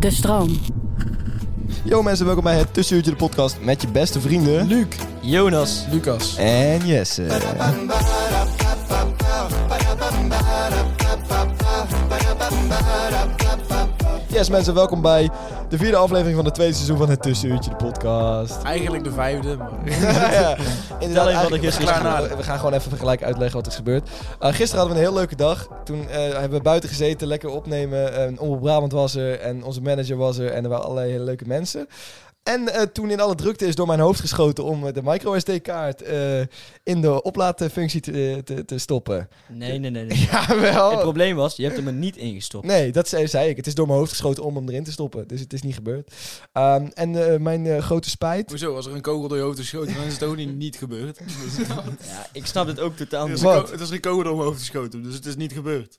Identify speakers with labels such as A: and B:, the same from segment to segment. A: De stroom.
B: Yo mensen, welkom bij het Tussenuurtje de podcast met je beste vrienden... Luc, Jonas
C: Lucas.
B: en Jesse. Yes mensen, welkom bij de vierde aflevering van het tweede seizoen van het Tussenuurtje de podcast.
C: Eigenlijk de vijfde, maar...
B: ja, inderdaad,
D: even wat er
B: eigenlijk- we,
D: gisteren
B: gaan,
C: gebeurde.
B: we gaan gewoon even gelijk uitleggen wat er is gebeurd. Eh, gisteren hadden we een heel leuke dag. Toen eh, hebben we buiten gezeten, lekker opnemen. En Omroep Brabant was er en onze manager was er. En er waren allerlei hele leuke mensen. En eh, toen in alle drukte is door mijn hoofd geschoten om eh, de micro-SD-kaart eh, in de oplaadfunctie te, te, te stoppen.
D: Nee, nee, nee. nee.
B: Jawel.
D: Het probleem was, je hebt hem er niet ingestopt.
B: Nee, dat zei, zei ik. Het is door mijn hoofd geschoten om hem erin te stoppen. Dus het is niet gebeurd. Ehm, en eh, mijn eh, grote spijt.
C: Hoezo, als er een kogel door je hoofd is geschoten, dan is het ook niet, niet gebeurd. Dus-
D: Ja, ik snap het ook totaal
C: Er
D: niet.
C: is een
B: Wat?
C: ko- Het is een kogel door mijn hoofd geschoten, dus het is niet gebeurd.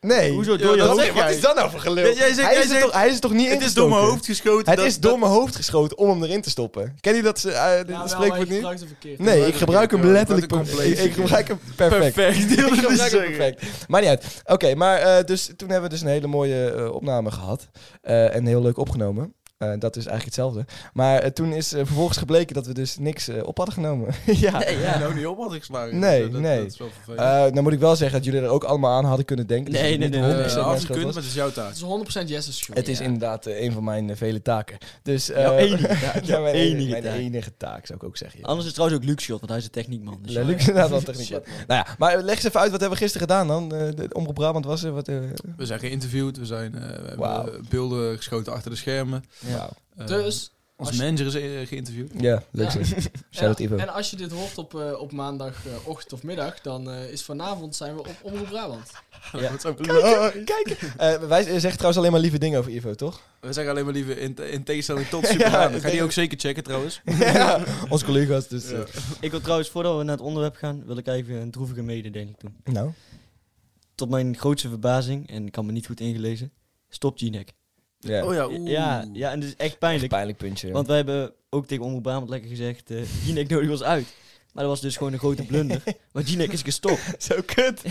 B: Nee.
D: Hoezo door je
B: Wat-
D: hoofd?
B: nee, Wat
C: jij?
B: is dat nou voor gelul?
C: Jij- jij zegt-
B: hij,
C: jij
B: is er
C: zegt-
B: toch, hij is er toch niet
C: Het is door mijn hoofd geschoten.
B: Het
C: dat-
B: is
C: dat-
B: door mijn hoofd geschoten om hem erin te stoppen. Ken je dat ze, eh, dit spreekwoord niet?
E: verkeerd.
B: Nee, ik gebruik hem
C: Wat
B: letterlijk
C: een
B: perfect. Ik,
C: compleet.
B: ik gebruik hem perfect.
C: perfect.
B: Ik
C: wilde
B: gebruik
C: dus
B: hem
C: zeggen.
B: perfect. Maar niet uit. Oké, maar eh, dus, toen hebben we dus een hele mooie eh, opname gehad. Eh, en heel leuk opgenomen. Eh, dat is eigenlijk hetzelfde. Maar eh, toen is eh, vervolgens gebleken dat we dus niks eh, op hadden genomen. ja.
D: Nee,
C: Ja,
D: ja.
C: nou niet op had geslagen.
B: Nee,
C: Dus, eh, dat,
B: nee.
C: Dat is wel vervelend.
B: Eh nou moet ik wel zeggen dat jullie er ook allemaal aan hadden kunnen denken.
D: Nee,
B: het
D: nee,
B: niet
D: nee, nee,
B: 100%
C: Eh,
B: mijn
C: had je
B: schuld
C: kunt,
B: was.
C: maar het is jouw taak.
E: Het is 100% Jesse's schuld.
B: Het is
D: Ja.
B: inderdaad eh, een van mijn eh, vele taken. Dus, eh,
D: Jouw enige taak.
B: ja, mijn,
D: Jouw
B: enige,
D: enige
B: mijn
D: taak.
B: enige taak, zou ik ook zeggen. ja.
D: Anders is het trouwens ook Luke Shot, want hij is de techniekman. Dus
B: Ja, Luc is inderdaad wel techniek. wat. Nou ja, maar leg eens even uit, wat hebben we gisteren gedaan dan? Eh, de Omroep Brabant was er, wat... eh,
C: We zijn geïnterviewd, we, zijn, eh, we
B: Wauw.
C: hebben beelden geschoten achter de schermen.
B: wauw.
C: Eh,
E: Dus, als
C: Onze
E: je-
C: manager is eh, geïnterviewd.
B: Ja, leuk
E: Ja.
B: zeg. Shout-out
E: ja,
B: Ivo.
E: en als je dit hoort op, eh, op maandagochtend of middag, dan eh, is vanavond zijn we op Omroep Brabant.
D: Ja.
C: Wat zo-
B: Kijk, kijk. Eh, wij zeggen trouwens alleen maar lieve dingen over Ivo, toch?
C: We zeggen alleen maar liever in, in tegenstelling tot Superman. Ga die ook zeker checken trouwens.
B: ja, onze collega's, dus... eh,
D: Ik wil trouwens, voordat we naar het onderwerp gaan, wil ik even een droevige mededeling doen.
B: nou,
D: Tot mijn grootste verbazing, en ik kan me niet goed ingelezen, stopt G-Neck.
B: ja.
C: Oh ja, oeh.
D: Ja, ja, en dat is echt pijnlijk.
B: Pijnlijk puntje.
D: Want wij hebben ook tegen Omroep Brabant lekker gezegd, eh G-Neck nodig ons uit. Maar dat was dus gewoon een grote blunder. Want G-Neck is gestopt.
B: Zo kut.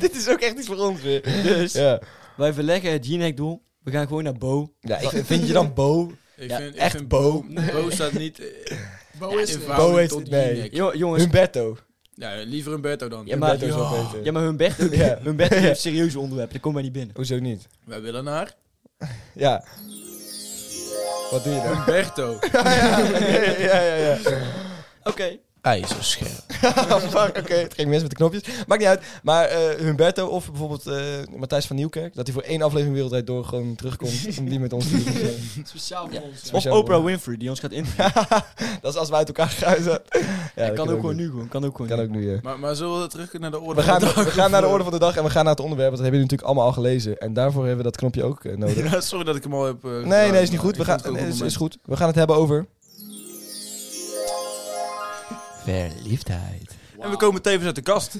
B: Dit is ook echt iets voor ons weer.
D: Dus
B: Ja.
D: wij verleggen het G-Neck doel. We gaan gewoon naar Bo.
B: Ja, ik vind, vind je dan Bo?
C: Ik
D: Ja,
C: vind,
B: echt
C: ik vind
B: Bo.
C: Bo. Bo staat niet eh,
E: Bo
C: in
E: is er.
C: verhouding
B: Bo heet-
C: tot
B: nee.
C: Jinek.
D: Jo- jongens,
B: Humberto.
C: Ja, liever een Berto dan.
D: Ja, maar- Oh.
B: Humberto is wel beter.
D: Ja, maar Humberto,
B: Ja.
D: Humberto heeft serieuze onderwerpen. Daar komt wij niet binnen.
B: Hoezo niet?
C: Wij willen naar
B: Ja. Wat doe je dan?
C: Berto.
B: ja, ja, ja.
D: Oké.
C: IJzerscherp.
B: Fuck, oké. Het ging mis met de knopjes. Maakt niet uit. Maar eh, Humberto of bijvoorbeeld eh, Matthijs van Nieuwkerk... dat hij voor één aflevering wereldwijd door gewoon terugkomt... om die met ons te doen.
E: Speciaal voor
D: Ja.
E: ons. ja.
D: Of
B: Speciaal
D: Oprah
B: woord.
D: Winfrey, die ons gaat in.
B: dat is als we uit elkaar gaan. zo. Ja, dat
D: kan ook gewoon
B: nu.
D: nu gewoon. Kan ook gewoon
B: Kan
D: nu.
B: ook nu, ja.
C: Maar, maar zullen we terug naar de orde
B: We gaan,
C: van de dag?
B: we gaan naar de orde van de dag en we gaan naar het onderwerp. want Dat hebben jullie natuurlijk allemaal al gelezen. En daarvoor hebben we dat knopje ook eh, nodig.
C: Ja, sorry dat ik hem al heb eh,
B: Nee,
C: gedaan,
B: nee, is niet
C: maar
B: goed. We
C: ik vond
B: gaan,
C: het ook een
B: is,
C: moment.
B: is goed. We gaan het hebben over...
D: Verliefdheid.
C: En we komen tevens uit de kast.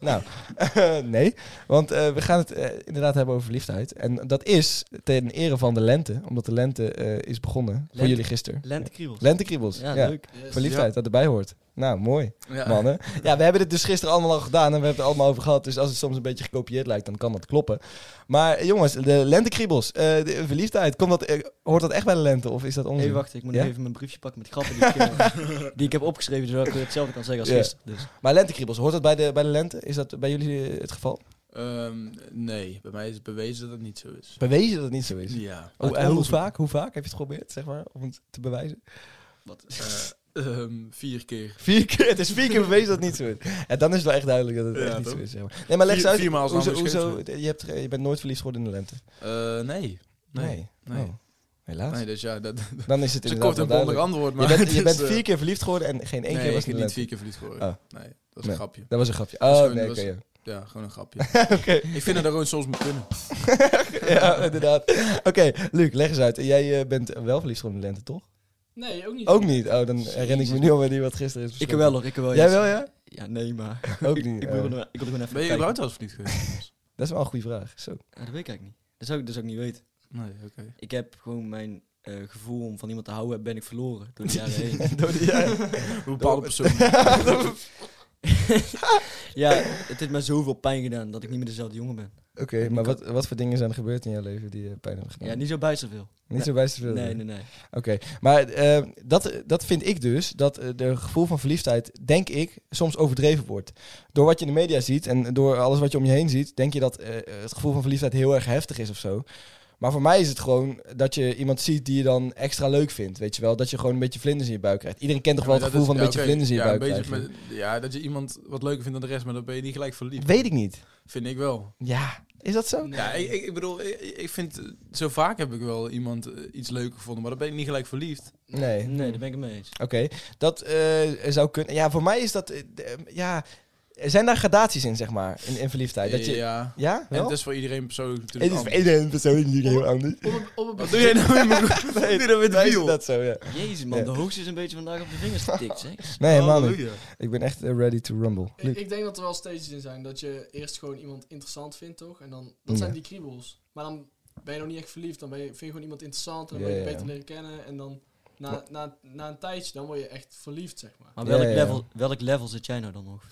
B: Nou, eh, nee. Want eh, we gaan het eh, inderdaad hebben over verliefdheid. En dat is ten ere van de lente. Omdat de lente eh, is begonnen voor
D: Lente-
B: jullie gisteren.
D: Lentekriebels.
B: Lentekriebels.
D: ja,
B: Ja,
D: leuk.
E: Yes.
B: Verliefdheid, dat erbij hoort. Nou, mooi,
C: Ja.
B: mannen. Ja, we hebben dit dus gisteren allemaal al gedaan en we hebben het er allemaal over gehad. Dus als het soms een beetje gekopieerd lijkt, dan kan dat kloppen. Maar eh, jongens, de lentekriebels, eh, de verliefdheid, komt dat, eh, hoort dat echt bij de lente? Of is dat onzin?
D: Even wachten, ik moet
B: Ja?
D: nog even mijn briefje pakken met grappen die ik, eh, die ik heb opgeschreven, zodat ik weer hetzelfde kan zeggen als
B: Ja.
D: gisteren. Dus.
B: Maar lentekriebels, hoort dat bij de, bij de lente? Is dat bij jullie eh, het geval?
C: Ehm, nee, bij mij is het bewezen dat het niet zo is.
B: Bewezen dat het Oh, niet zo is.
C: Ja.
B: Hoe,
D: Uit
B: en hoe
D: onderzoek.
B: vaak? Hoe vaak heb je het geprobeerd, zeg maar, om het te bewijzen?
C: Wat? eh, ehm, vier keer.
B: Vier keer, het is vier keer bewezen dat het niet zo is. En dan is het wel echt duidelijk dat het
C: Ja,
B: echt niet
C: toch?
B: zo is, zeg maar. Nee, maar leg eens
C: Vier-
B: uit,
C: viermaal is een
B: hoezo,
C: ander
B: hoezo- je, hebt, je bent nooit verliefd geworden in de lente?
C: Eh, nee. Nee. Nee.
B: Nee. Oh, helaas.
C: Nee, dus ja, dat, dat
B: Dan is het
C: is een
B: inderdaad
C: kort
B: wel
C: en bondig
B: duidelijk.
C: antwoord.
B: Je
C: Maar
B: bent, je
C: het is,
B: bent
C: eh,
B: vier keer verliefd geworden en geen één
C: nee,
B: keer was
C: ik
B: in de
C: heb niet
B: lente.
C: vier keer verliefd geworden. Nee, dat is
B: Nee.
C: een grapje.
B: Dat was een grapje.
C: is
B: Oh,
C: gewoon-
B: nee,
C: dat
B: oké. ja.
C: Ja, gewoon een grapje. Ik vind dat er gewoon soms moet kunnen.
B: ja, inderdaad. Oké, Luc, leg eens uit. Jij eh, bent wel verliefd geworden in de lente, toch?
E: Nee, ook niet.
B: Ook niet. Oh, dan herinner ik me
D: Jezus.
B: nu alweer die wat gisteren is
D: Ik
B: besproken.
D: wel hoor, ik wel.
B: Jij
D: yes.
B: wel, ja?
D: Ja, nee, maar.
B: Ook
D: ik,
B: niet.
D: ik,
B: eh.
D: wilde, gewoon- ik wilde gewoon even
C: Ben je
D: kijken.
C: überhaupt wel eens verliefd geweest?
B: Dat is wel een goede vraag. Zo.
D: Ja, dat weet ik eigenlijk niet. Dat zou ik dus ook niet weten.
C: Nee, oké.
D: Ik heb gewoon mijn eh, gevoel om van iemand te houden, ben ik verloren door de jaren heen.
B: Door die, ja.
C: Een bepaalde persoon.
D: ja, het heeft mij zoveel pijn gedaan dat ik niet meer dezelfde jongen ben.
B: Oké, maar wat, wat voor dingen zijn er gebeurd in jouw leven die eh, pijn hebben gedaan?
D: Ja, niet zo bij zoveel.
B: Niet zo wijs te veel. eh.
D: Nee, nee, nee.
B: Oké, maar eh, dat, dat vind ik dus, dat eh, de gevoel van verliefdheid, denk ik, soms overdreven wordt. Door wat je in de media ziet en door alles wat je om je heen ziet, denk je dat eh, het gevoel van verliefdheid heel erg heftig is of zo. Maar voor mij is het gewoon dat je iemand ziet die je dan extra leuk vindt, weet je wel. Dat je gewoon een beetje vlinders in je buik krijgt. Iedereen kent toch wel
C: Ja,
B: het
C: maar
B: gevoel
C: dat
B: van een
C: is-
B: beetje
C: ja,
B: vlinders in je
C: oké,
B: buik
C: ja,
B: krijgen?
C: een beetje met- ja, dat je iemand wat leuker vindt dan de rest, maar dan ben je niet gelijk verliefd.
B: Weet ik niet.
C: Vind ik wel.
B: Ja, is dat zo?
C: Ja, ik, ik ik bedoel, ik, ik vind, eh, zo vaak heb ik wel iemand eh, iets leuker gevonden, maar dan ben ik niet gelijk verliefd.
B: Nee.
D: Nee, daar ben ik het mee eens.
B: Oké, dat eh, zou kunnen. Ja, voor mij is dat. eh, d- eh, ja, er zijn daar gradaties in, zeg maar, in, in verliefdheid. Dat je, ja.
C: Ja. En
B: wel?
C: het is voor iedereen persoonlijk
B: Het
C: natuurlijk
B: is voor
C: anders.
B: iedereen persoonlijk niet heel anders.
E: Op een, op een
C: Wat doe jij nou in mijn
B: Nee,
C: Doe dat met
B: wij
C: wiel.
B: doen dat zo, ja.
D: Jezus man,
B: Ja.
D: de hoogste is een beetje vandaag op de vingers getikt, zeg.
B: Nee, helemaal niet.
C: Halleluja.
B: Ik ben echt eh, ready to rumble.
E: Ik,
B: Luc.
E: ik denk dat er wel stages in zijn. Dat je eerst gewoon iemand interessant vindt, toch? En dan, dat
B: Ja.
E: zijn die kriebels. Maar dan ben je nog niet echt verliefd. Dan ben je, vind je gewoon iemand interessant. En dan
B: Ja,
E: ben je
B: ja,
E: beter
B: ja.
E: leren kennen. En dan na, na, na een tijdje, dan word je echt verliefd, zeg maar.
D: Maar
B: Ja,
D: welk,
B: ja, ja.
D: Level, welk level zit jij nou dan nog?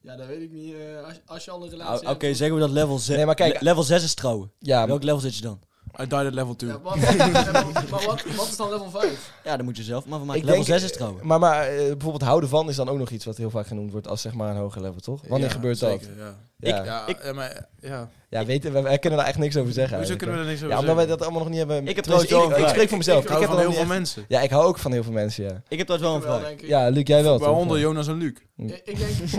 E: Ja, dat weet ik niet. eh, als, als je al een
D: Ah,
E: relatie
D: Oké,
E: hebt... dan-
D: zeggen we dat level 6...
B: Nee, maar kijk-
D: le- level 6 is trouwen.
B: Ja,
D: welk level zit je dan?
C: I died at level 2.
E: Ja, maar maar wat, wat is dan level 5?
D: Ja, dat moet je zelf maar van maken.
B: Ik
D: Level
B: denk,
D: 6 is trouwen.
B: maar, maar eh, bijvoorbeeld houden van is dan ook nog iets wat heel vaak genoemd wordt als zeg maar een hoger level, toch? Wanneer
C: Ja,
B: gebeurt dat?
C: zeker, Ja,
B: Ja,
C: ja,
D: ik-
C: ja, maar, ja.
B: ja weten, we, we kunnen daar echt niks over zeggen.
C: Hoezo
B: eigenlijk,
C: kunnen we er niks
B: hè.
C: over
B: ja, omdat wij
C: zeggen?
B: dat allemaal nog niet hebben.
D: Ik heb
B: Tenminste,
D: trouwens wel
B: ik, ik
D: een
B: spreek voor mezelf.
C: Ik
B: Ik,
C: hou
B: heb
C: van
B: er
C: heel
B: nog
C: veel
B: niet echt-
C: mensen.
B: Ja, ik hou ook van heel veel mensen, ja.
D: Ik heb dat wel een
E: Ik wel,
D: vraag.
E: denk ik.
B: Ja, Luc, jij wel. toch?
C: Waaronder
B: Ja.
C: Jonas en Luc.
E: Ik, ik denk, ik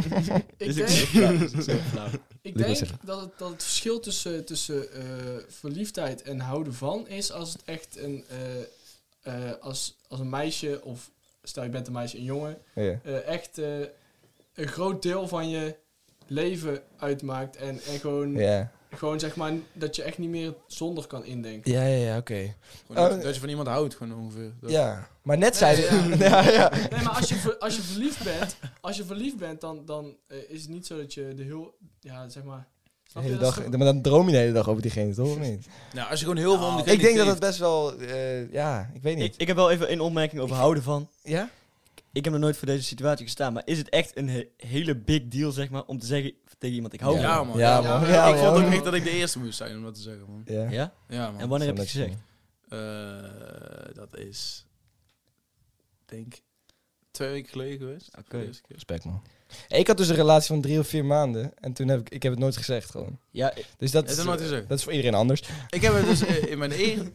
D: Dit
E: denk,
D: is flauw, dit is heel flauw.
E: ik
B: Lucas
E: denk
B: zeggen.
E: dat, het, dat het verschil tussen, tussen eh, verliefdheid en houden van is als het echt een, eh, eh, als, als een meisje of stel je bent een meisje, een jongen,
B: Ja.
E: eh, echt eh, een groot deel van je leven uitmaakt en, en gewoon,
B: Ja,
E: gewoon zeg maar dat je echt niet meer zonder kan indenken.
B: ja, ja, ja, oké.
C: Gewoon
B: Oh,
C: dat- dat je van iemand houdt, gewoon ongeveer. Dat-
B: Ja, maar net zei
E: Nee,
B: ze... Ja, ja.
E: Nee, maar als je, ver- als je verliefd bent, als je verliefd bent, dan, dan eh, is het niet zo dat je de heel, ja zeg maar.
B: De
E: snap je?
B: hele
E: Dat is
B: dag,
E: toch-
B: maar dan droom je de hele dag over diegene, toch? Of niet?
C: Nou, als je gewoon heel veel om
D: Nou,
C: die
B: Ik denk dat het
C: geeft-
B: best wel... eh, ja, ik weet
D: Ik,
B: niet.
D: ik heb wel even een opmerking over houden van.
B: Ja?
D: Ik heb nog nooit voor deze situatie gestaan, maar is het echt een he- hele big deal, zeg maar, om te zeggen tegen iemand ik hou
C: Ja,
D: van je?
C: man.
B: Ja,
C: Ja,
B: man.
E: man.
B: Ja,
C: ik vond ook
B: man.
C: echt dat ik de eerste moest zijn om dat te zeggen, man.
B: Ja.
D: Ja?
C: Ja, man.
D: En wanneer heb je het
B: Zou ik
D: gezegd?
C: Eh, dat is, denk twee weken geleden geweest.
D: Oké.
C: Voor de eerste keer.
B: Respect, man. Ik had dus een relatie van drie of vier maanden. En toen heb ik... Ik heb het nooit gezegd, gewoon.
D: Ja, ik-
B: Dus dat,
C: Heb je
B: is,
C: dat nooit
B: eh,
C: gezegd?
B: dat is voor iedereen anders.
C: Ik heb het dus eh, in mijn eer...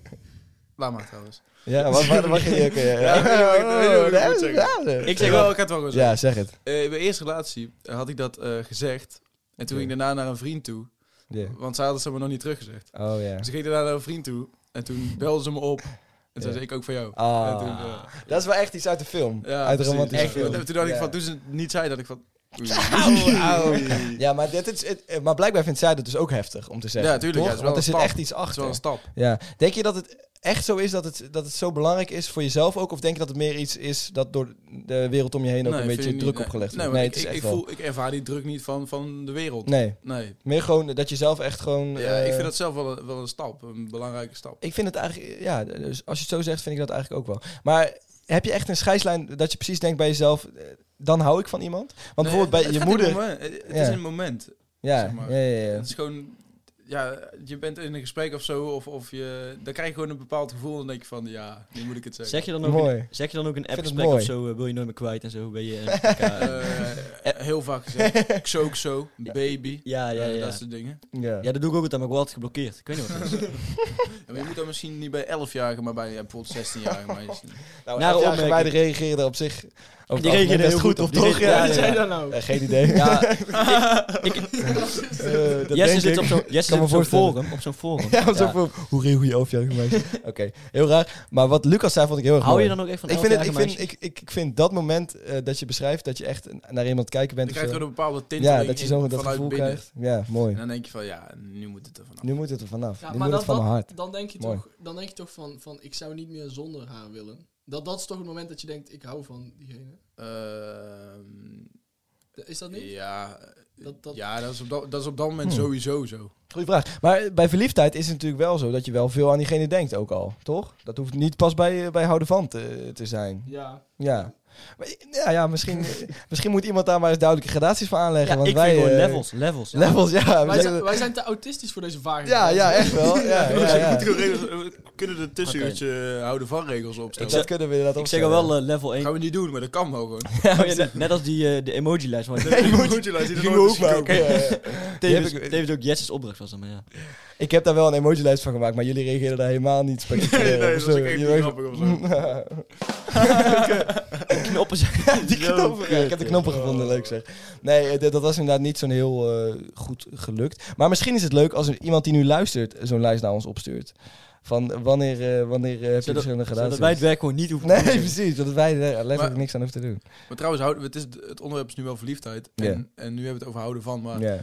C: Laat maar trouwens.
B: Ja, wat waar, waar ging je ook... eh,
C: Ja, ik weet niet wat ik- ik
B: ja,
C: weet niet wat ik moet zeggen.
B: ja,
D: Ik
C: Ik
D: zeg
C: zeg
D: wel-
C: wel, ik had het wel gezegd.
B: Ja, zeg het.
C: Eh, in mijn eerste relatie eh, had ik dat eh, gezegd. En toen
B: Oké.
C: ging ik daarna naar een vriend toe.
B: Ja.
C: Want ze hadden ze me nog niet teruggezegd.
B: Oh, ja.
C: Dus ik ging daarna naar een vriend toe. En toen belden ze me op. En toen
B: Ja.
C: zei ik ook van jou. En toen,
B: Ah,
C: eh,
B: dat is wel echt iets uit de film.
C: ja,
B: uit de
C: precies.
B: romantische
C: Echt,
B: film.
C: Toen dacht ik
B: Ja.
C: van, toen ze het niet zei, dat ik van... oei.
B: Ja, maar, dit is, het, eh, maar blijkbaar vindt zij dat dus ook heftig om te zeggen.
C: Ja, tuurlijk,
B: Toch?
C: ja, het is
B: Want
C: wel
B: er
C: een
B: zit
C: stap.
B: echt iets
C: Dat is
B: achter.
C: wel een stap.
B: Ja. Denk je dat het echt zo is dat het, dat het zo belangrijk is voor jezelf ook? Of denk je dat het meer iets is dat door de wereld om je heen ook een
C: vind
B: beetje
C: ik niet.
B: druk
C: Nee,
B: opgelegd
C: nee,
B: wordt?
C: want
B: Nee,
C: ik,
B: het is
C: ik,
B: echt
C: ik
B: wel.
C: voel, ik ervaar die druk niet van, van de wereld. Nee.
B: Nee, meer gewoon dat je zelf echt gewoon...
C: Ja,
B: eh,
C: ik vind dat zelf wel, een- wel een stap. Een belangrijke stap.
B: ik vind het eigenlijk... Ja, dus als je het zo zegt, vind ik dat eigenlijk ook wel. Maar heb je echt een scheidslijn dat je precies denkt bij jezelf... eh, Dan hou ik van iemand? Want
C: Nee,
B: bijvoorbeeld bij
C: het
B: je
C: gaat in
B: moeder...
C: Het, moment. het, het
B: Ja.
C: is een moment.
B: Ja,
C: zeg maar.
B: ja, ja, ja.
C: Het is gewoon... ja, je bent in een gesprek of zo, of, of je, dan krijg je gewoon een bepaald gevoel. Dan denk je van, ja, nu moet ik het zeggen.
D: Zeg je dan ook,
B: Mooi.
D: in, zeg je dan ook in
B: het
D: appgesprek
B: mooi.
D: of zo, eh, wil je nooit meer kwijt en zo, ben je... eh, elkaar-
C: Eh, heel vaak gezegd. Xo, xo, baby.
D: ja, ja,
C: eh,
D: ja.
C: Dat soort dingen.
B: Ja.
D: Ja, dat doe ik ook altijd, maar ik word altijd geblokkeerd. Ik weet niet wat het is.
C: Ja, maar je moet dan misschien niet bij 11-jarigen, maar bij eh, bijvoorbeeld 16-jarigen meisjes.
B: Nou, elf
D: Nare
B: jaar
D: opmerking.
B: gewijden reageerden op zich. over
D: Die
B: het algemeen
D: reageerden
B: best
D: heel goed
B: op,
D: op. Die
B: toch?
D: re-
B: Ja,
D: ja,
E: Wat
B: ja,
E: zei
B: ja.
E: je daar nou?
B: Eh, geen idee.
D: Ja, ik,
B: Eh, dat denk
D: Jesse zit
B: ik.
D: op zo'n Jesse
B: Kan
D: zit
B: me
D: op zo'n
B: voorstellen.
D: forum. Op zo'n forum.
B: Ja, want zo van, hoe regel je elfjarige meisje? Oké, heel raar. Maar wat Lucas zei, vond ik heel erg
D: Hou
B: mooi.
D: je dan ook echt van
B: ik vind, het,
D: elfjarige
B: ik, vind,
D: meisjes?
B: ik, ik, ik vind dat moment eh, dat je beschrijft dat je echt naar iemand kijken
C: Dan
B: bent.
C: krijg
B: of
C: je wel
B: zo.
C: een bepaalde tint
B: ja, dat je zo dat gevoel
C: binnen.
B: krijgt. Ja, mooi.
C: En dan denk je van, ja, nu moet het er vanaf.
B: Nu moet het er vanaf.
E: Ja,
B: nu
E: maar
B: moet het
E: dat,
B: van mijn hart.
E: dat, dan, denk je
B: Mooi.
E: toch, dan denk je toch van, van, ik zou niet meer zonder haar willen. Dat, dat is toch het moment dat je denkt, ik hou van diegene.
C: Ehm,
E: Is dat niet?
C: ja,
E: Dat- dat-
C: ja dat, is op dat, dat is op dat moment
B: Hmm.
C: sowieso zo.
B: Goeie vraag. Maar bij verliefdheid is het natuurlijk wel zo dat je wel veel aan diegene denkt ook al, toch? Dat hoeft niet pas bij, eh, bij houden van te, te zijn.
E: Ja.
B: Ja. Maar, ja, ja misschien, eh, misschien moet iemand daar maar eens duidelijke gradaties van aanleggen.
D: Ja,
B: want
D: ik
B: wij,
D: vind gewoon
B: eh,
D: levels, levels.
B: Levels, ja.
E: Wij, zijn, wij zijn te autistisch voor deze vraag.
B: Ja, ja, echt wel. Ja, ja, ja.
C: we kunnen de tussenuurtje houden van regels opstellen.
B: Dat kunnen we inderdaad
D: Ik zeg al wel eh, level 1.
C: gaan we niet doen, maar dat kan wel gewoon.
D: Oh ja, net- net als die eh, de emoji-lijst. waar ik-
C: die
B: Die gingen we ook maken. Ja, ja.
D: Tevens
B: Die heb ik-
D: tevens ook Jesse's opdracht was dan, maar ja.
B: Ik heb daar wel een emoji-lijst van gemaakt, maar jullie reageerden daar helemaal niet spectaculair
C: Nee, nee,
B: op. of
C: dat was
B: zo.
C: ook echt
B: Je
C: niet
B: weet-
C: grappig of zo.
D: eh, Knoppen zijn...
B: Die knoppen, ja, ik heb de
D: eh.
B: knoppen gevonden, leuk zeg. Nee, eh, dat dat was inderdaad niet zo'n heel eh, goed gelukt. Maar misschien is het leuk als er iemand die nu luistert zo'n lijst naar ons opstuurt. Van eh, wanneer, eh, wanneer eh, heb je
D: Zodat-
B: verschillende gedaan?
D: Zodat wij het werk gewoon niet hoeven
B: Nee,
D: te doen.
B: precies, dat wij er letterlijk
C: Maar-
B: niks aan hoeven te doen.
C: Maar trouwens, houden- het, is, het onderwerp is nu wel verliefdheid. En,
B: Ja.
C: en nu hebben we het over houden van. Maar
B: Ja,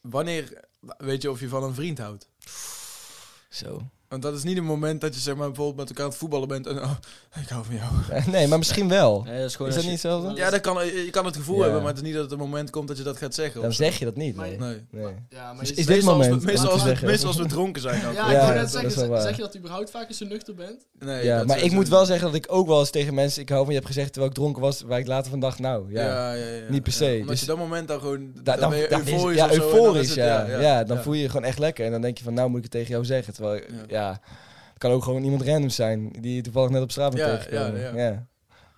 C: wanneer weet je of je van een vriend houdt?
B: zo.
C: Want dat is niet een moment dat je zeg maar, bijvoorbeeld met elkaar aan het voetballen bent en oh, ik hou van jou.
B: Eh, Nee, maar misschien wel.
D: Nee, dat is gewoon
B: Is
D: als
B: dat niet
D: je-
B: hetzelfde?
C: Ja, dat kan, je kan het gevoel
B: Ja.
C: hebben, maar het is niet dat het een moment komt dat je dat gaat zeggen.
B: Dan
C: of zo.
B: zeg je dat niet, nee.
C: Nee.
B: nee.
E: Ja, maar
B: Dus
E: je-
B: is dit
C: Meestal als we-
B: moment om
C: Meestal
B: te
C: als, we,
B: zeggen.
C: meestal als we dronken zijn. Dan
E: ja,
C: toch?
E: ik
B: Ja,
E: wou
B: dat
E: net
B: is wel
E: zeggen,
B: waar.
E: zeg je dat u überhaupt vaak eens zo nuchter bent?
C: Nee,
B: ja,
C: dat
B: maar ik
C: sowieso
B: moet
C: niet.
B: wel zeggen dat ik ook wel eens tegen mensen... Ik hou van je hebt gezegd terwijl ik dronken was, waar ik later van dacht, nou,
C: Ja,
B: ja.
C: ja, ja, ja.
B: Niet per se,
C: Ja, omdat
B: dus-
C: je dat moment dan gewoon.
B: Da-
C: dan, ben je
B: is het-
C: euforisch.
B: ja,
C: of zo, en dan
B: euforisch,
C: is het-
B: ja. Ja, dan voel je je gewoon echt lekker. En dan denk je van, nou moet ik het tegen jou zeggen. Terwijl, ja,
C: Ja.
B: het kan ook gewoon iemand randoms zijn die je toevallig net op straat bent
C: Ja,
B: tegengekomen.
C: ja,
B: Ja,
C: ja.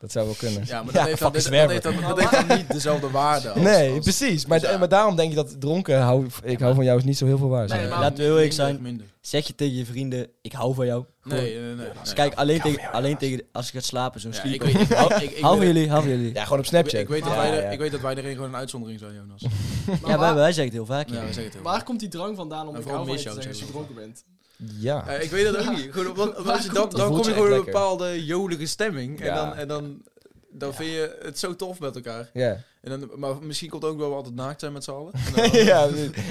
B: dat zou wel kunnen.
C: Ja, maar dat
B: Ja,
C: heeft
B: fucking
C: dan- dat- dat heeft
B: zwerver.
C: dan- dat heeft dan niet dezelfde waarde. als-
B: nee,
C: als-
B: precies. Maar,
C: dus ja.
B: maar daarom denk je dat dronken, hou, ik hou van jou, is niet zo heel veel waar.
E: Nee,
B: zeg.
E: maar-
D: Laten we heel eerlijk
C: minder,
D: zijn.
C: minder.
D: Zeg je tegen je vrienden, ik hou van jou. Gewoon-
C: Nee, nee, nee.
D: Dus kijk, alleen, tegen, alleen tegen, als je gaat slapen, zo'n
C: Ja,
D: sleep.
C: ik weet- ik-
D: Hou-
C: ik- ik
D: Hou van
C: weet-
D: jullie, hou van jullie.
B: Ja, gewoon op
C: Ik,
B: Snapchat.
C: ik weet dat
B: Ja,
C: wij, er-
B: ja.
C: ik weet dat wij erin gewoon een uitzondering zijn, Jonas.
E: Maar
D: Ja, wij,
E: waar,
D: wij zeggen het heel vaak.
C: Ja,
D: Ja.
C: we zeggen het heel
E: waar komt die drang vandaan om
C: En
E: ik
C: vooral
E: hou van je
C: mis
E: te
C: jou,
E: zeggen als je
C: zeg
E: dronken bent?
B: Ja.
C: Ja, ik weet dat ook niet. Gewoon, want, want als je
E: Waar
C: dan,
E: komt
C: dan
B: dat?
C: kom je
B: Voelt je
C: gewoon in een
B: echt lekker.
C: bepaalde jolige stemming. En
B: Ja.
C: dan, en dan, dan vind je het zo tof met elkaar.
B: Ja.
C: En dan, maar misschien komt ook wel we altijd naakt zijn met z'n allen.
B: ja,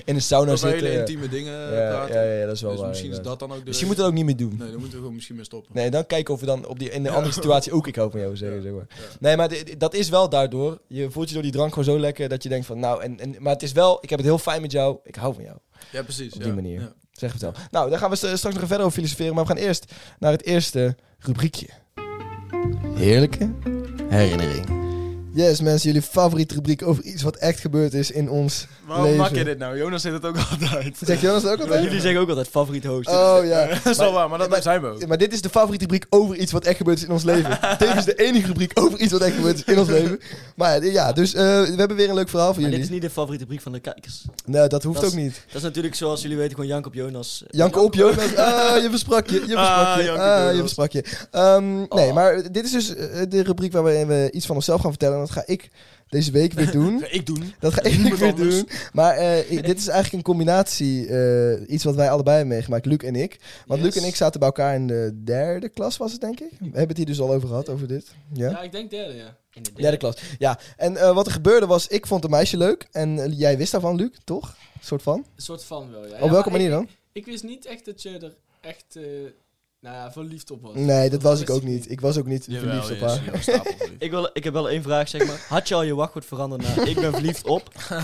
B: in de sauna
C: Of
B: zitten.
C: Nou, hele
B: ja.
C: intieme dingen
B: Ja,
C: praten.
B: ja, ja, dat is wel
C: dus
B: waar.
C: misschien is
B: inderdaad.
C: dat dan ook de...
B: Misschien moeten we dat ook niet meer doen.
C: Nee, dan moeten we gewoon misschien mee stoppen.
B: Nee, dan kijken of we dan op die, in de andere situatie ook ik hou van jou zeggen.
C: Ja,
B: Zeg maar.
C: ja.
B: Nee, maar dit- dit- dat is wel daardoor. Je voelt je door die drank gewoon zo lekker dat je denkt van nou, en, en, maar het is wel, ik heb het heel fijn met jou, ik hou van jou.
C: Ja, precies.
B: Op die
C: ja,
B: manier.
C: ja.
B: Zeg het wel. Nou, daar gaan we st- straks nog verder over filosoferen, maar we gaan eerst naar het eerste rubriekje. Heerlijke herinnering. Yes mensen, jullie favoriete rubriek over iets wat echt gebeurd is in ons
C: Waarom
B: leven.
C: maak je dit nou? Jonas zegt het ook altijd.
B: Zegt Jonas dat ook altijd?
D: Jullie zeggen ook altijd favoriet host.
B: Oh ja.
C: dat is wel waar, maar dat
B: maar-
C: zijn we ook.
B: Ja, Maar dit is de favoriete rubriek over iets wat echt gebeurd is in ons leven. Tevens de enige rubriek over iets wat echt gebeurd is in ons leven. Maar ja, ja, dus eh, we hebben weer een leuk verhaal voor
D: Maar dit
B: jullie.
D: is niet de favoriete brief van de kijkers.
B: Nee, dat hoeft
D: dat
B: ook
D: is-
B: niet.
D: Dat is natuurlijk zoals jullie weten gewoon Jank op Jonas. eh,
B: Janke op, Jonas. Ah, je versprak je. Je versprak
C: Ah,
B: je.
C: Janke
B: Ah, je
C: Jonas.
B: versprak je. Ehm, Nee,
D: Oh.
B: maar dit is dus eh, de rubriek waarin we iets van onszelf gaan vertellen. En dat ga ik deze week weer doen.
C: Ga ik doen.
B: Dat ga ik
C: Niemand
B: weer
C: anders.
B: doen. Maar eh, i- dit is eigenlijk een combinatie. eh, iets wat wij allebei hebben meegemaakt, Luc en ik. Want
D: Yes.
B: Luc en ik zaten bij elkaar in de derde klas, was het denk ik? We hebben het hier dus al over gehad, over dit. Ja.
E: Ja, ik denk derde, ja.
B: Derde klas. Ja, en eh, wat er gebeurde was, ik vond een meisje leuk. En eh, jij wist daarvan, Luc, toch? Een soort van.
E: Een soort van wel, ja.
B: Op
E: Eh, Ja,
B: welke
E: maar
B: manier
E: ik-
B: dan?
E: Ik wist niet echt dat je er echt, eh nou ja, verliefd op was.
B: Nee, dat was ik
E: wist
B: ook niet. Ik was ook niet verliefd op haar.
D: Ik, wil, ik heb wel één vraag, zeg maar. Had je al je wachtwoord veranderd naar ik ben verliefd op?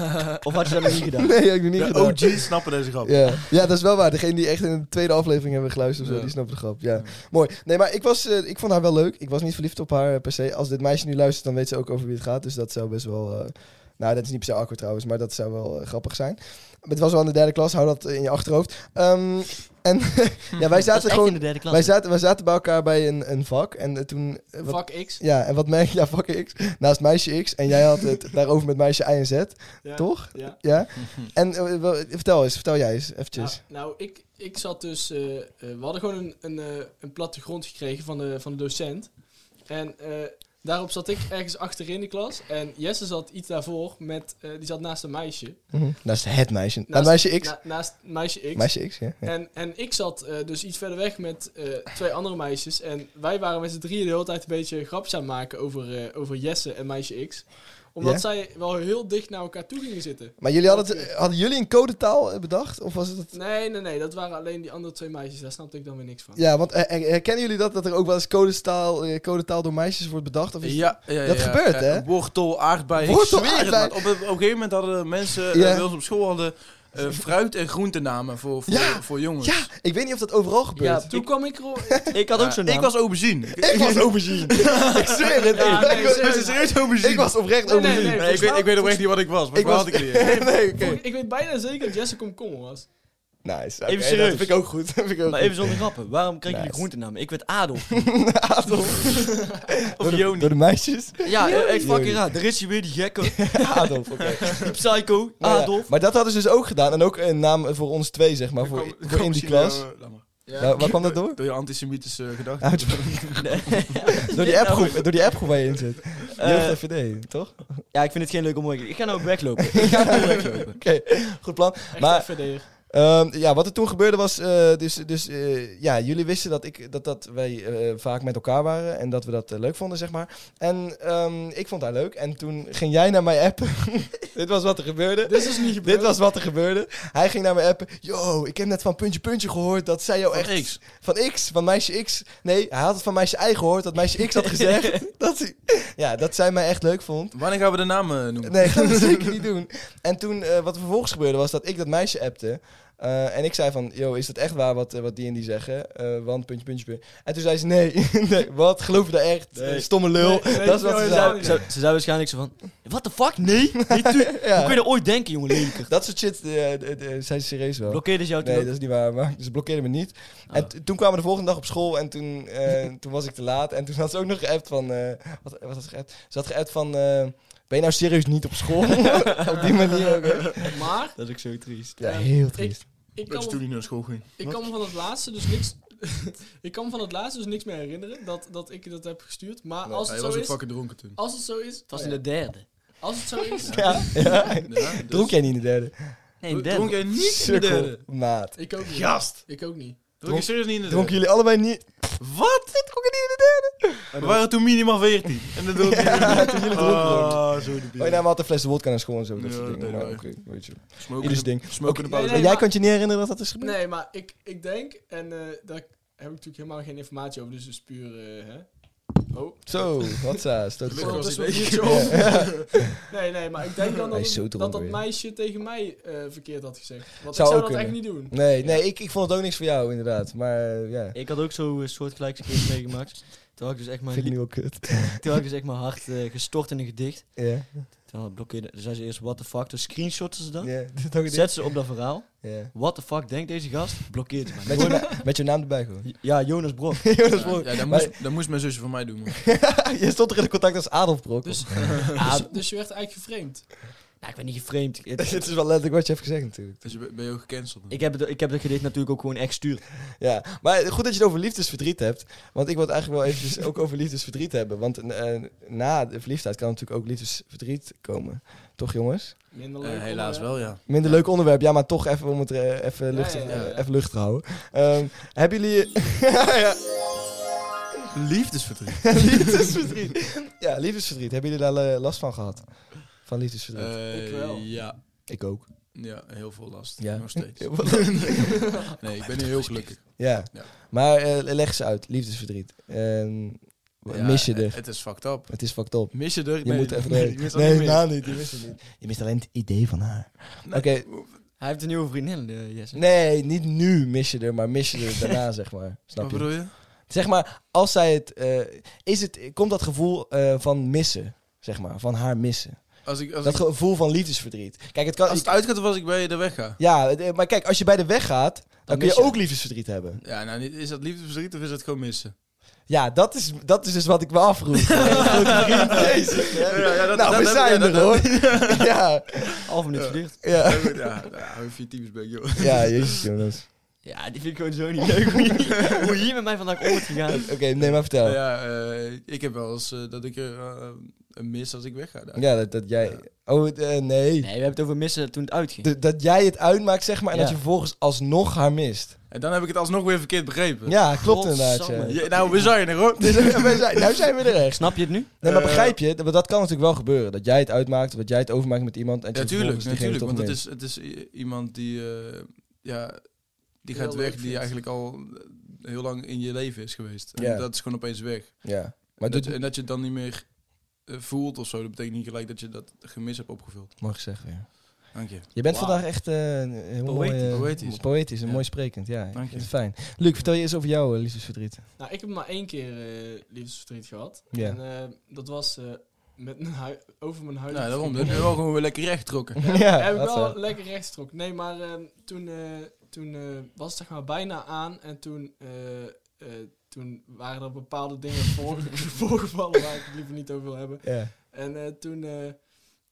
D: Of had je dat nog niet gedaan?
B: Nee, heb ik nog niet
C: De
B: gedaan.
C: OG's snappen deze grap.
B: Ja. ja, dat is wel waar. Degene die echt in de tweede aflevering hebben geluisterd, of zo,
C: Ja.
B: die snapt de grap. Ja. Mooi. Nee, maar ik, was, eh, ik vond haar wel leuk. Ik was niet verliefd op haar eh, per se. Als dit meisje nu luistert, dan weet ze ook over wie het gaat. Dus dat zou best wel eh, Nou, dat is niet per se awkward trouwens, maar dat zou wel eh, grappig zijn. Maar het was wel in de derde klas, hou dat eh, in je achterhoofd. Ehm, en ja, wij
D: Dat is
B: zaten
D: echt in
B: gewoon...
D: de derde klas.
B: Wij zaten, wij zaten bij elkaar bij een, een vak en eh, toen... eh, wat-
E: Vak X.
B: Ja, en wat merk je? Ja, vak X. Naast meisje X. En jij had het daarover met meisje Y en Z,
E: Ja.
B: toch?
E: Ja.
B: Ja. En eh, wel, vertel eens, vertel jij eens,
E: Nou,
B: eventjes.
E: nou, ik, ik zat dus. eh, eh, we hadden gewoon een, een, eh, een plattegrond gekregen van de, van de docent. En eh, daarop zat ik ergens achterin de klas. En Jesse zat iets daarvoor. Met, eh, die zat naast een meisje.
B: Mhm. Naast het meisje. Naast,
E: Naast-
B: meisje X.
E: Na- naast meisje nou, X.
B: Meisje X, ja. ja.
E: En, en ik zat eh, dus iets verder weg met eh, twee andere meisjes. En wij waren met z'n drieën de hele tijd een beetje grapjes aan het maken over, eh, over Jesse en meisje X. Omdat
B: Ja?
E: zij wel heel dicht naar elkaar toe gingen zitten.
B: Maar jullie hadden, het- hadden jullie een codetaal eh, bedacht? Of was het...
E: Nee, nee, nee. Dat waren alleen die andere twee meisjes. Daar snapte ik dan weer niks van.
B: Ja, want eh, eh, herkennen jullie dat? Dat er ook wel eens codetaal, eh, codetaal door meisjes wordt bedacht? Of is het-
C: Ja, ja, ja,
B: Dat
C: ja.
B: gebeurt,
C: Eh,
B: hè?
C: Wortel, aardbei. ik
B: Wortel,
C: zweer het,
B: aardbei.
C: maat. Op, een- op een gegeven moment hadden mensen
B: Ja.
C: eh, bij ons op school hadden, eh, fruit- en groentenamen voor, voor,
B: Ja.
C: voor jongens. Eh,
B: Ja, ik weet niet of dat overal gebeurt.
E: Toen kwam ik erop.
D: Ik had
C: Ja,
D: ook zo'n naam.
C: ik was aubergine. Ik,
B: Ik was aubergine. ik zweer het.
E: Ja, nee,
B: ik, was,
E: serieus.
C: was serieus aubergine.
B: ik was oprecht
E: Nee, nee,
B: aubergine.
E: nee.
C: Nee, ik,
E: volgens
C: weet,
E: mij-
C: ik weet oprecht niet wat ik was, maar ik had ik
B: was-
C: het niet.
B: nee, oké.
E: Ik weet bijna zeker dat Jesse komkommer was.
B: Nice.
D: Even
B: oké,
D: serieus.
B: Dat vind ik ook goed. Dat vind ik ook
D: Maar
B: goed.
D: even zonder grappen. Waarom kreeg jullie
B: Nice.
D: groentenaam? Ik werd Adolf.
B: Adolf.
D: Of Joni.
B: Door de meisjes.
D: Ja, eh, echt
B: Joni.
D: fucking raar. Er is hier weer die gekke.
B: Adolf, oké.
D: Die psycho.
B: Nou ja,
D: Adolf.
B: maar dat hadden ze dus ook gedaan. En ook een naam voor ons twee, zeg maar. Voor, voor in die
C: eh,
B: klas. Nou, waar kwam dat door?
C: Door je antisemitische gedachten.
B: Uit-
D: Nee.
B: door, die appgroep, door die appgroep waar je in zit.
D: Eh,
B: Jeugd FVD, toch? Oké,
D: ja, ik vind het geen leuke mooie. Ik ga nou ook weglopen. Ik ga nou weglopen.
B: goed plan.
E: Echt
B: Maar-
E: maar, FVD'er.
B: Ehm, ja, wat er toen gebeurde was, eh, dus, dus eh, ja, jullie wisten dat, ik, dat, dat wij eh, vaak met elkaar waren en dat we dat eh, leuk vonden, zeg maar. En ehm, ik vond haar leuk en toen ging jij naar mij appen. Dit was wat er gebeurde.
E: Dit is dus niet gebeurd.
B: Dit was wat er gebeurde. Hij ging naar me appen. Yo, ik heb net van Puntje Puntje gehoord dat zij jou echt...
C: Echt niks.
B: Van X, van meisje X. Nee, hij had het van meisje Y gehoord dat meisje X had gezegd. dat, hij- ja, dat zij mij echt leuk vond.
C: Wanneer gaan we de namen noemen?
B: Nee, ik ga dat zeker niet doen. En toen, eh, wat er vervolgens gebeurde, was dat ik dat meisje appte. Eh, en ik zei van, yo, is dat echt waar wat, eh, wat die en die zeggen? Eh, want, puntje, puntje, puntje. En toen zei ze, nee, nee wat, geloof je dat echt?
D: Nee.
B: Eh, Stomme lul.
E: Nee, nee,
B: dat is wat
E: nee,
B: ze
E: nee,
B: zei.
D: Ze, ze zei waarschijnlijk zo van... What the fuck? Nee? nee tuurlijk. Hoe kun
B: Ja,
D: je dat ooit denken, jongen lelijker?
B: dat soort shit eh, eh, eh, zei ze serieus wel.
D: Blokkeerde ze jou toen
B: Nee,
D: ook?
B: dat is niet waar. Maar ze blokkeerden me niet.
E: Ah.
B: En t- toen kwamen we de volgende dag op school en toen, eh, toen was ik te laat. En toen had ze ook nog geappt van... eh, wat, wat had ze geappt? Ze had geappt van... eh, ben je nou serieus niet op school? op die manier ook. hè?
E: Maar
D: Dat is ook zo triest.
B: Ja,
E: Ja,
B: heel
E: ik-
B: triest.
E: ik
C: Dat
E: kan,
C: je
E: me,
C: toen niet naar school ging.
E: ik kan me van het laatste dus niks. ik kan me van het laatste dus niks meer herinneren dat, dat ik dat heb gestuurd. Maar
B: Nee,
E: als
C: Hij
E: het zo
C: was ook
E: is.
C: fucking dronken toen.
E: Als het zo is.
D: Het was
E: oh
D: in
E: ja,
D: de derde.
E: Als het zo is.
B: Ja, ja.
C: Ja, dus-
B: Dronk jij niet in de derde?
D: Nee, in de
C: Dronk
D: derde.
C: jij niet in de
B: Sukkel,
C: derde?
B: maat.
E: Ik ook niet. Ik ook niet.
C: Dronk je serieus niet in de
B: Dronken
C: derde?
B: jullie allebei niet?
C: Wat?
B: Ik dronk niet in de derde.
C: We waren toen minimaal 14. En dat dronk
B: Ja, toen jullie dronken waren.
C: Ah, zo
B: Oh, je nam altijd flessen wodka naar school en zo. Dat
C: Ja,
B: soort dingen.
C: dat
B: Maar
C: deden
B: oké, weet je.
C: Smoken
B: Ieders
C: in de-
B: ding.
C: smoken in de
E: Oké.
C: pauze.
E: Nee,
B: en jij
E: maar-
B: kunt je niet herinneren dat dat is gebeurd?
E: Nee, maar ik, ik denk. En eh, daar heb ik natuurlijk helemaal geen informatie over. Dus dus puur. eh, hè? Oh.
B: Zo, wat saas. Dat is
C: Gelukkig
B: zo.
C: was
E: Dus
C: ik
E: wat
C: bezig.
E: biertje op. Nee, nee, maar ik denk dan
B: Hij
E: dat
B: is zo
E: dat,
B: dronken
E: dat
B: weer.
E: meisje tegen mij eh, verkeerd had gezegd. Want
B: Zou
E: ik zou
B: ook
E: dat echt niet
B: kunnen.
E: doen.
B: Nee, nee ik, ik vond het ook niks voor jou, inderdaad. Maar eh, ja,
D: Ik had ook zo'n soortgelijkse keer meegemaakt. Toen had ik dus echt
B: vind
D: mijn,
B: ik nu wel
D: li-
B: kut.
D: toen had ik dus echt mijn hart eh, gestort in een gedicht.
B: Ja,
D: Toen blokkeerde, toen zei ze eerst what the fuck. Toen screenshotten ze dat.
B: ja. dat is ook een ding.
D: Zet ze op dat verhaal.
B: Ja.
D: What the fuck denkt deze gast? Blokkeert ze maar.
B: Met je, na- met je naam erbij gewoon.
D: Ja, Jonas Brok.
B: Jonas Brok.
C: Ja, dat
B: Maar-
C: moest, dat moest mijn zusje van mij doen. man.
B: je stond toch in de contact als Adolf Brok?
E: Dus,
D: Ah,
E: dus, dus je werd eigenlijk gevreemd.
D: nou, ik ben niet geframed. Het-
B: Dit is wel letterlijk wat je hebt gezegd natuurlijk.
C: Dus je ben ben je ook gecanceld. man.
D: ik, heb het, ik heb dat gedicht natuurlijk ook gewoon echt gestuurd.
B: Ja, maar goed dat je het over liefdesverdriet hebt. Want ik wil het eigenlijk wel eventjes ook over liefdesverdriet hebben. Want eh, na de verliefdheid kan natuurlijk ook liefdesverdriet komen. Toch jongens?
E: Minder leuk.
C: Eh, helaas
E: onderwerp.
C: wel, ja.
B: Minder leuk onderwerp, ja, maar toch even om het eh, even,
E: Ja,
B: lucht,
E: ja, ja, ja.
B: eh, even lucht te houden. Ehm, hebben jullie... ja,
C: Liefdesverdriet.
B: liefdesverdriet. Ja, liefdesverdriet. Hebben jullie daar eh, last van gehad? Van liefdesverdriet?
E: Ik wel.
C: Eh, Ja.
B: ik ook.
C: Ja, heel veel last.
B: Ja.
C: Nog steeds.
B: Heel veel
C: Nee, ik ben nu heel gelukkig.
B: Ja.
C: Ja.
B: Maar eh, leg ze uit, liefdesverdriet. Ehm, wat
C: Ja,
B: mis je
E: eh,
B: er?
C: Het is fucked up.
B: Het is fucked up.
C: Mis je er?
B: Je moet even... Nee,
C: mis dat
B: nee,
C: niet meer.
B: nou niet. Je mist het niet. Je mist alleen het idee van haar. Oké,
D: Hij heeft een nieuwe vriendin, eh, Jesse.
B: nee, niet nu mis je er, maar mis je er daarna, zeg maar.
C: Wat
B: Snap je?
C: bedoel je?
B: Zeg maar, als zij het, eh, is het... Komt dat gevoel eh, van missen, zeg maar, van haar missen?
C: Als, ik, als,
B: Dat
C: ik-
B: gevoel van liefdesverdriet. Kijk, het kan...
C: als het uitgaat of als ik bij de weg ga.
B: Ja, het- eh, maar kijk, als je bij de weg gaat, dan, kun je,
D: mis je.
B: ook liefdesverdriet hebben.
C: Ja, nou, niet- is dat liefdesverdriet of is dat gewoon missen?
B: Ja, dat is, dat is dus wat ik me afvroeg. Grote vriend, Jezus. hè.
C: Ja, ja, dat-
B: nou,
C: dat-
B: we
C: dat-
B: zijn
C: ja,
B: er, hoor. ja,
D: Half minuut geduurd.
B: ja.
C: Ja, goed, ja, nou, hou je vier types bij, joh.
B: Ja, jezus, Jonas.
D: Ja, die vind ik gewoon zo niet leuk. Hoe je, hoe je hier met mij vandaag om wordt gegaan.
B: Oké, nee, maar vertel. Ja,
C: Ja, eh, ik heb wel eens eh, dat ik er eh, een mis als ik wegga. daar.
B: dat, dat jij... Oh, het, eh, nee.
D: Nee, we hebben het over missen toen het uitging.
B: D- dat jij het uitmaakt, zeg maar, en
D: Ja.
B: dat je vervolgens alsnog haar mist.
C: En dan heb ik het alsnog weer verkeerd begrepen.
B: Ja, klopt
D: Godsamme.
B: inderdaad. Ja.
C: Ja, nou, we zijn er hoor.
B: Dus, we zijn, nou zijn we er echt.
D: Snap je het nu?
B: Nee, maar
C: Eh,
B: begrijp je? Dat, want dat kan natuurlijk wel gebeuren. Dat jij het uitmaakt, of dat jij het overmaakt met iemand. En dat je
C: Natuurlijk,
B: vervolgens diegene
C: natuurlijk.
B: toch
C: Want het
B: mist.
C: is, het is i- iemand die, eh, ja, die
E: Heel
C: gaat
E: leuk
C: weg,
E: vindt.
C: die eigenlijk al eh, heel lang in je leven is geweest. En
B: Ja.
C: dat is gewoon opeens weg.
B: Ja. Maar
C: dat,
B: dit
C: En dat je het dan niet meer eh, voelt of zo, dat betekent niet gelijk dat je dat gemis hebt opgevuld.
B: mag ik zeggen, ja.
C: Dank
D: Oh,
C: je.
B: Je bent
D: Wauw.
B: vandaag echt eh, heel mooi... eh,
C: Poëtisch.
B: Poëtisch en
C: Ja.
B: mooi sprekend, ja. Ik
C: Dank je.
B: vind het fijn. Luc, vertel je eens over jouw eh, liefdesverdriet.
E: Nou, ik heb maar één keer eh, liefdesverdriet gehad.
B: Ja.
E: En eh, dat was eh, met mijn hui- over mijn huid.
C: Nou, daarom. Dat heb je wel gewoon weer lekker recht getrokken.
B: Ja,
E: heb ik
B: wat,
E: wel
B: eh,
E: lekker rechts trok. Nee, maar ehm, toen, eh, toen eh, was het zeg maar bijna aan. En toen, eh, eh, toen waren er bepaalde dingen voorge- voorgevallen waar ik het liever niet over wil hebben.
B: ja.
E: En eh, toen, eh,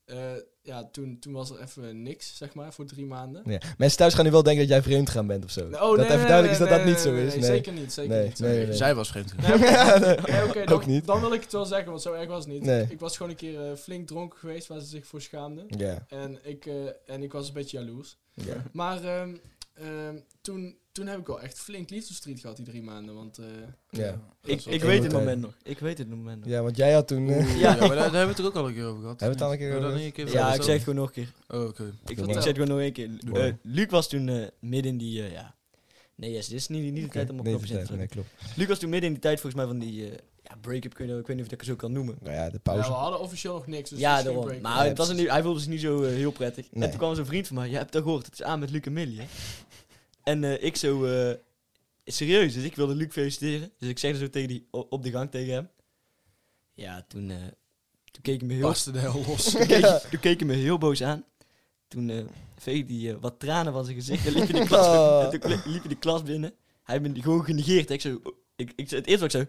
E: eh, ja, toen, toen was er even niks, zeg maar, voor drie maanden.
B: Ja. Mensen thuis gaan nu wel denken dat jij vreemd gaan bent of zo.
E: Nee,
B: dat
E: Oh, nee,
B: even
E: nee,
B: duidelijk
E: nee,
B: is dat
E: nee,
B: dat niet zo
E: nee,
B: is.
E: nee,
B: Nee.
E: Zeker niet, zeker
B: Nee,
E: niet.
B: nee, nee.
C: Zij was vreemd.
E: Nee, oké.
B: Ja, nee.
E: Nee, oké,
B: Ook
E: dan,
B: niet.
E: dan wil ik het wel zeggen, want zo erg was het niet.
B: Nee.
E: Ik was gewoon een keer eh, flink dronken geweest waar ze zich voor schaamden.
B: Ja.
E: En ik, eh, en ik was een beetje jaloers.
B: ja.
E: Maar ehm, ehm, toen, toen heb ik wel echt flink liefdesverdriet gehad, die drie maanden. Want eh,
B: Ja.
D: Ik, ik
B: wel
D: weet
B: goed,
D: het
B: hè.
D: moment nog. Ik weet het moment nog.
B: Ja, want jij had toen... eh,
C: Oeh, ja, maar daar, daar hebben we het er ook al een keer over gehad.
B: Hebben we het al een keer
C: Hebben we dat
B: over
C: niet een keer
D: Ja, ik
C: verteld?
D: zeg het gewoon nog een keer.
C: Oh, oké.
D: Ik,
B: Doe
D: ik
B: maar.
D: zeg het gewoon nog een keer.
B: Doe maar.
D: Eh, Luc was toen eh, midden in die... eh, ja. Nee, yes, dit is niet, niet de tijd om op
B: nee,
D: knopjes in te
B: nee,
D: drukken.
B: nee, klopt.
D: Luc was toen midden in die tijd volgens mij van die... eh, ja, break-up, kun je- ik weet niet of ik dat zo kan noemen.
B: Nou ja, de
E: ja,
B: pauze.
E: we hadden officieel nog niks. Dus
D: ja,
E: het is geen
D: daarom.
E: break.
D: Maar het was een, hij voelde zich niet zo eh, heel prettig.
B: Nee.
D: En toen kwam zo'n vriend van mij. Jij hebt dat gehoord. Het is aan met Luc en Millie, hè? En eh, ik zo... eh, serieus. Dus ik wilde Luc feliciteren. Dus ik zeg zo tegen die, o- op de gang tegen hem. Ja, toen... eh, toen keek hij me heel...
C: Barsten de hel los.
D: Toen keek, toen keek hij me heel boos aan. Toen eh veegde hij eh, wat tranen van zijn gezicht. En liep hij de klas,
B: Oh.
D: en toen liep hij de klas binnen. Hij heeft me gewoon genegeerd. Ik zo... Ik, ik, het eerste wat ik zo...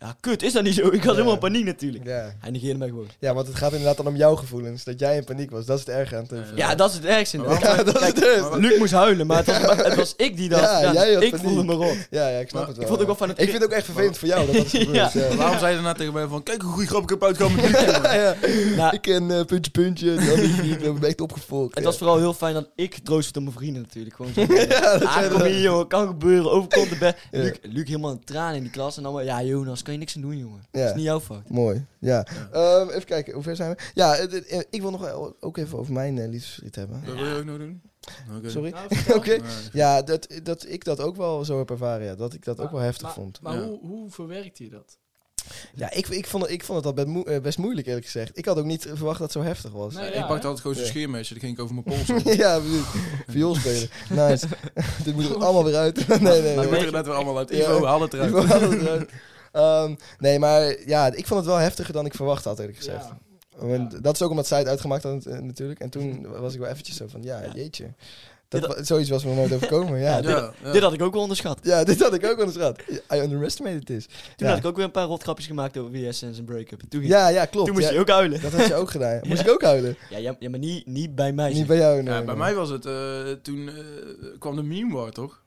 D: Ja, kut. Is dat niet zo? Ik was
B: Ja.
D: helemaal in paniek natuurlijk.
B: Ja.
D: Hij negeerde mij gewoon.
B: ja, want het gaat inderdaad dan om jouw gevoelens. Dat jij in paniek was. Dat is het erg aan het
C: Ja,
D: Ja, dat is het ergste.
C: Maar
D: inderdaad.
B: Ja, dat is het dus.
D: Luc moest huilen, maar het was, maar het was ik die dat.
B: Ja,
D: gedaan.
B: jij had
D: ik
B: paniek.
D: voelde me rot.
B: Ja, ja, ik snap
C: Maar
B: het wel.
D: Ik vond ook
B: ja.
D: wel van het.
B: Ik vind het ook echt vervelend voor jou dat dat is gebeurd.
D: Ja.
B: ja.
C: Waarom zei je daarna tegen mij van, kijk hoe goede grap ik heb uitgehaald met Luc?
B: Ja, ja.
D: Nou,
B: Ik ken eh, puntje, puntje. Die andere vriend, Ik ben echt opgefokt.
D: het
B: ja.
D: was vooral heel fijn dat ik getroost werd door mijn vrienden natuurlijk. Gewoon zo. ah, kom hier, jongen, kan gebeuren, overkomt de bed.
B: Ja.
D: Luc, Luc helemaal een traan in die klas en allemaal. Ja, Jonas, kan je niks aan doen, jongen.
B: Ja.
D: Dat is niet jouw fout.
B: Mooi, ja. Ehm, even kijken, hoe ver zijn we? Ja, het- het- eh, ik wil nog wel ook even over mijn eh, liefdesverdriet hebben.
C: Dat wil je ook nog doen? Oké.
B: Sorry?
E: Nou,
B: Oké.
E: vertel.
C: Maar-
B: Ja, dat, dat ik dat ook wel zo heb ervaren, ja. Dat ik dat ook wel heftig
E: maar,
B: vond.
E: Maar
C: Ja.
E: hoe, hoe verwerkt je dat?
B: Ja, ik, ik, vond, het- ik vond het al best, moe- eh, best moeilijk, eerlijk gezegd. Ik had ook niet verwacht dat het zo heftig was.
E: Nee,
C: ik
E: ja,
C: pakte
E: hè?
C: altijd gewoon zo'n
B: Ja.
C: scheermesje, dat ging ik over mijn pols.
B: ja, precies. Viool spelen. Nice. Dit moet er allemaal weer uit. nee, nee, nee.
C: Dat
D: Maar weet
C: wordt
D: je-
C: er net weer allemaal uit.
B: Ja.
C: Ivo, haal het
B: Die
C: eruit.
B: wou alles eruit. Ehm, nee, maar ja, ik vond het wel heftiger dan ik verwacht had, eerlijk gezegd.
E: Ja.
B: Want Dat is ook omdat zij het uitgemaakt had eh, natuurlijk. En toen was ik wel eventjes zo van, ja,
D: Ja.
B: jeetje.
D: Dit
B: Dat, wa- zoiets was me nooit overkomen, ja.
D: Ja,
B: Ja, dit,
C: Ja, ja.
D: Dit had ik ook wel onderschat.
B: had ik ook wel eens gehad. I underestimated this.
D: Toen
B: Ja.
D: had ik ook weer een paar rotgrapjes gemaakt over WS en zijn break-up. Toen, ging-
B: Ja, ja, klopt.
D: toen moest
B: ja.
D: je ook huilen.
B: Dat had je ook gedaan. Moest ik ook huilen?
D: Ja, ja, ja, maar niet, niet bij mij.
B: Niet bij jou, nee.
C: Ja, bij
B: nee.
C: mij was het, eh, toen eh, kwam de meme war, toch?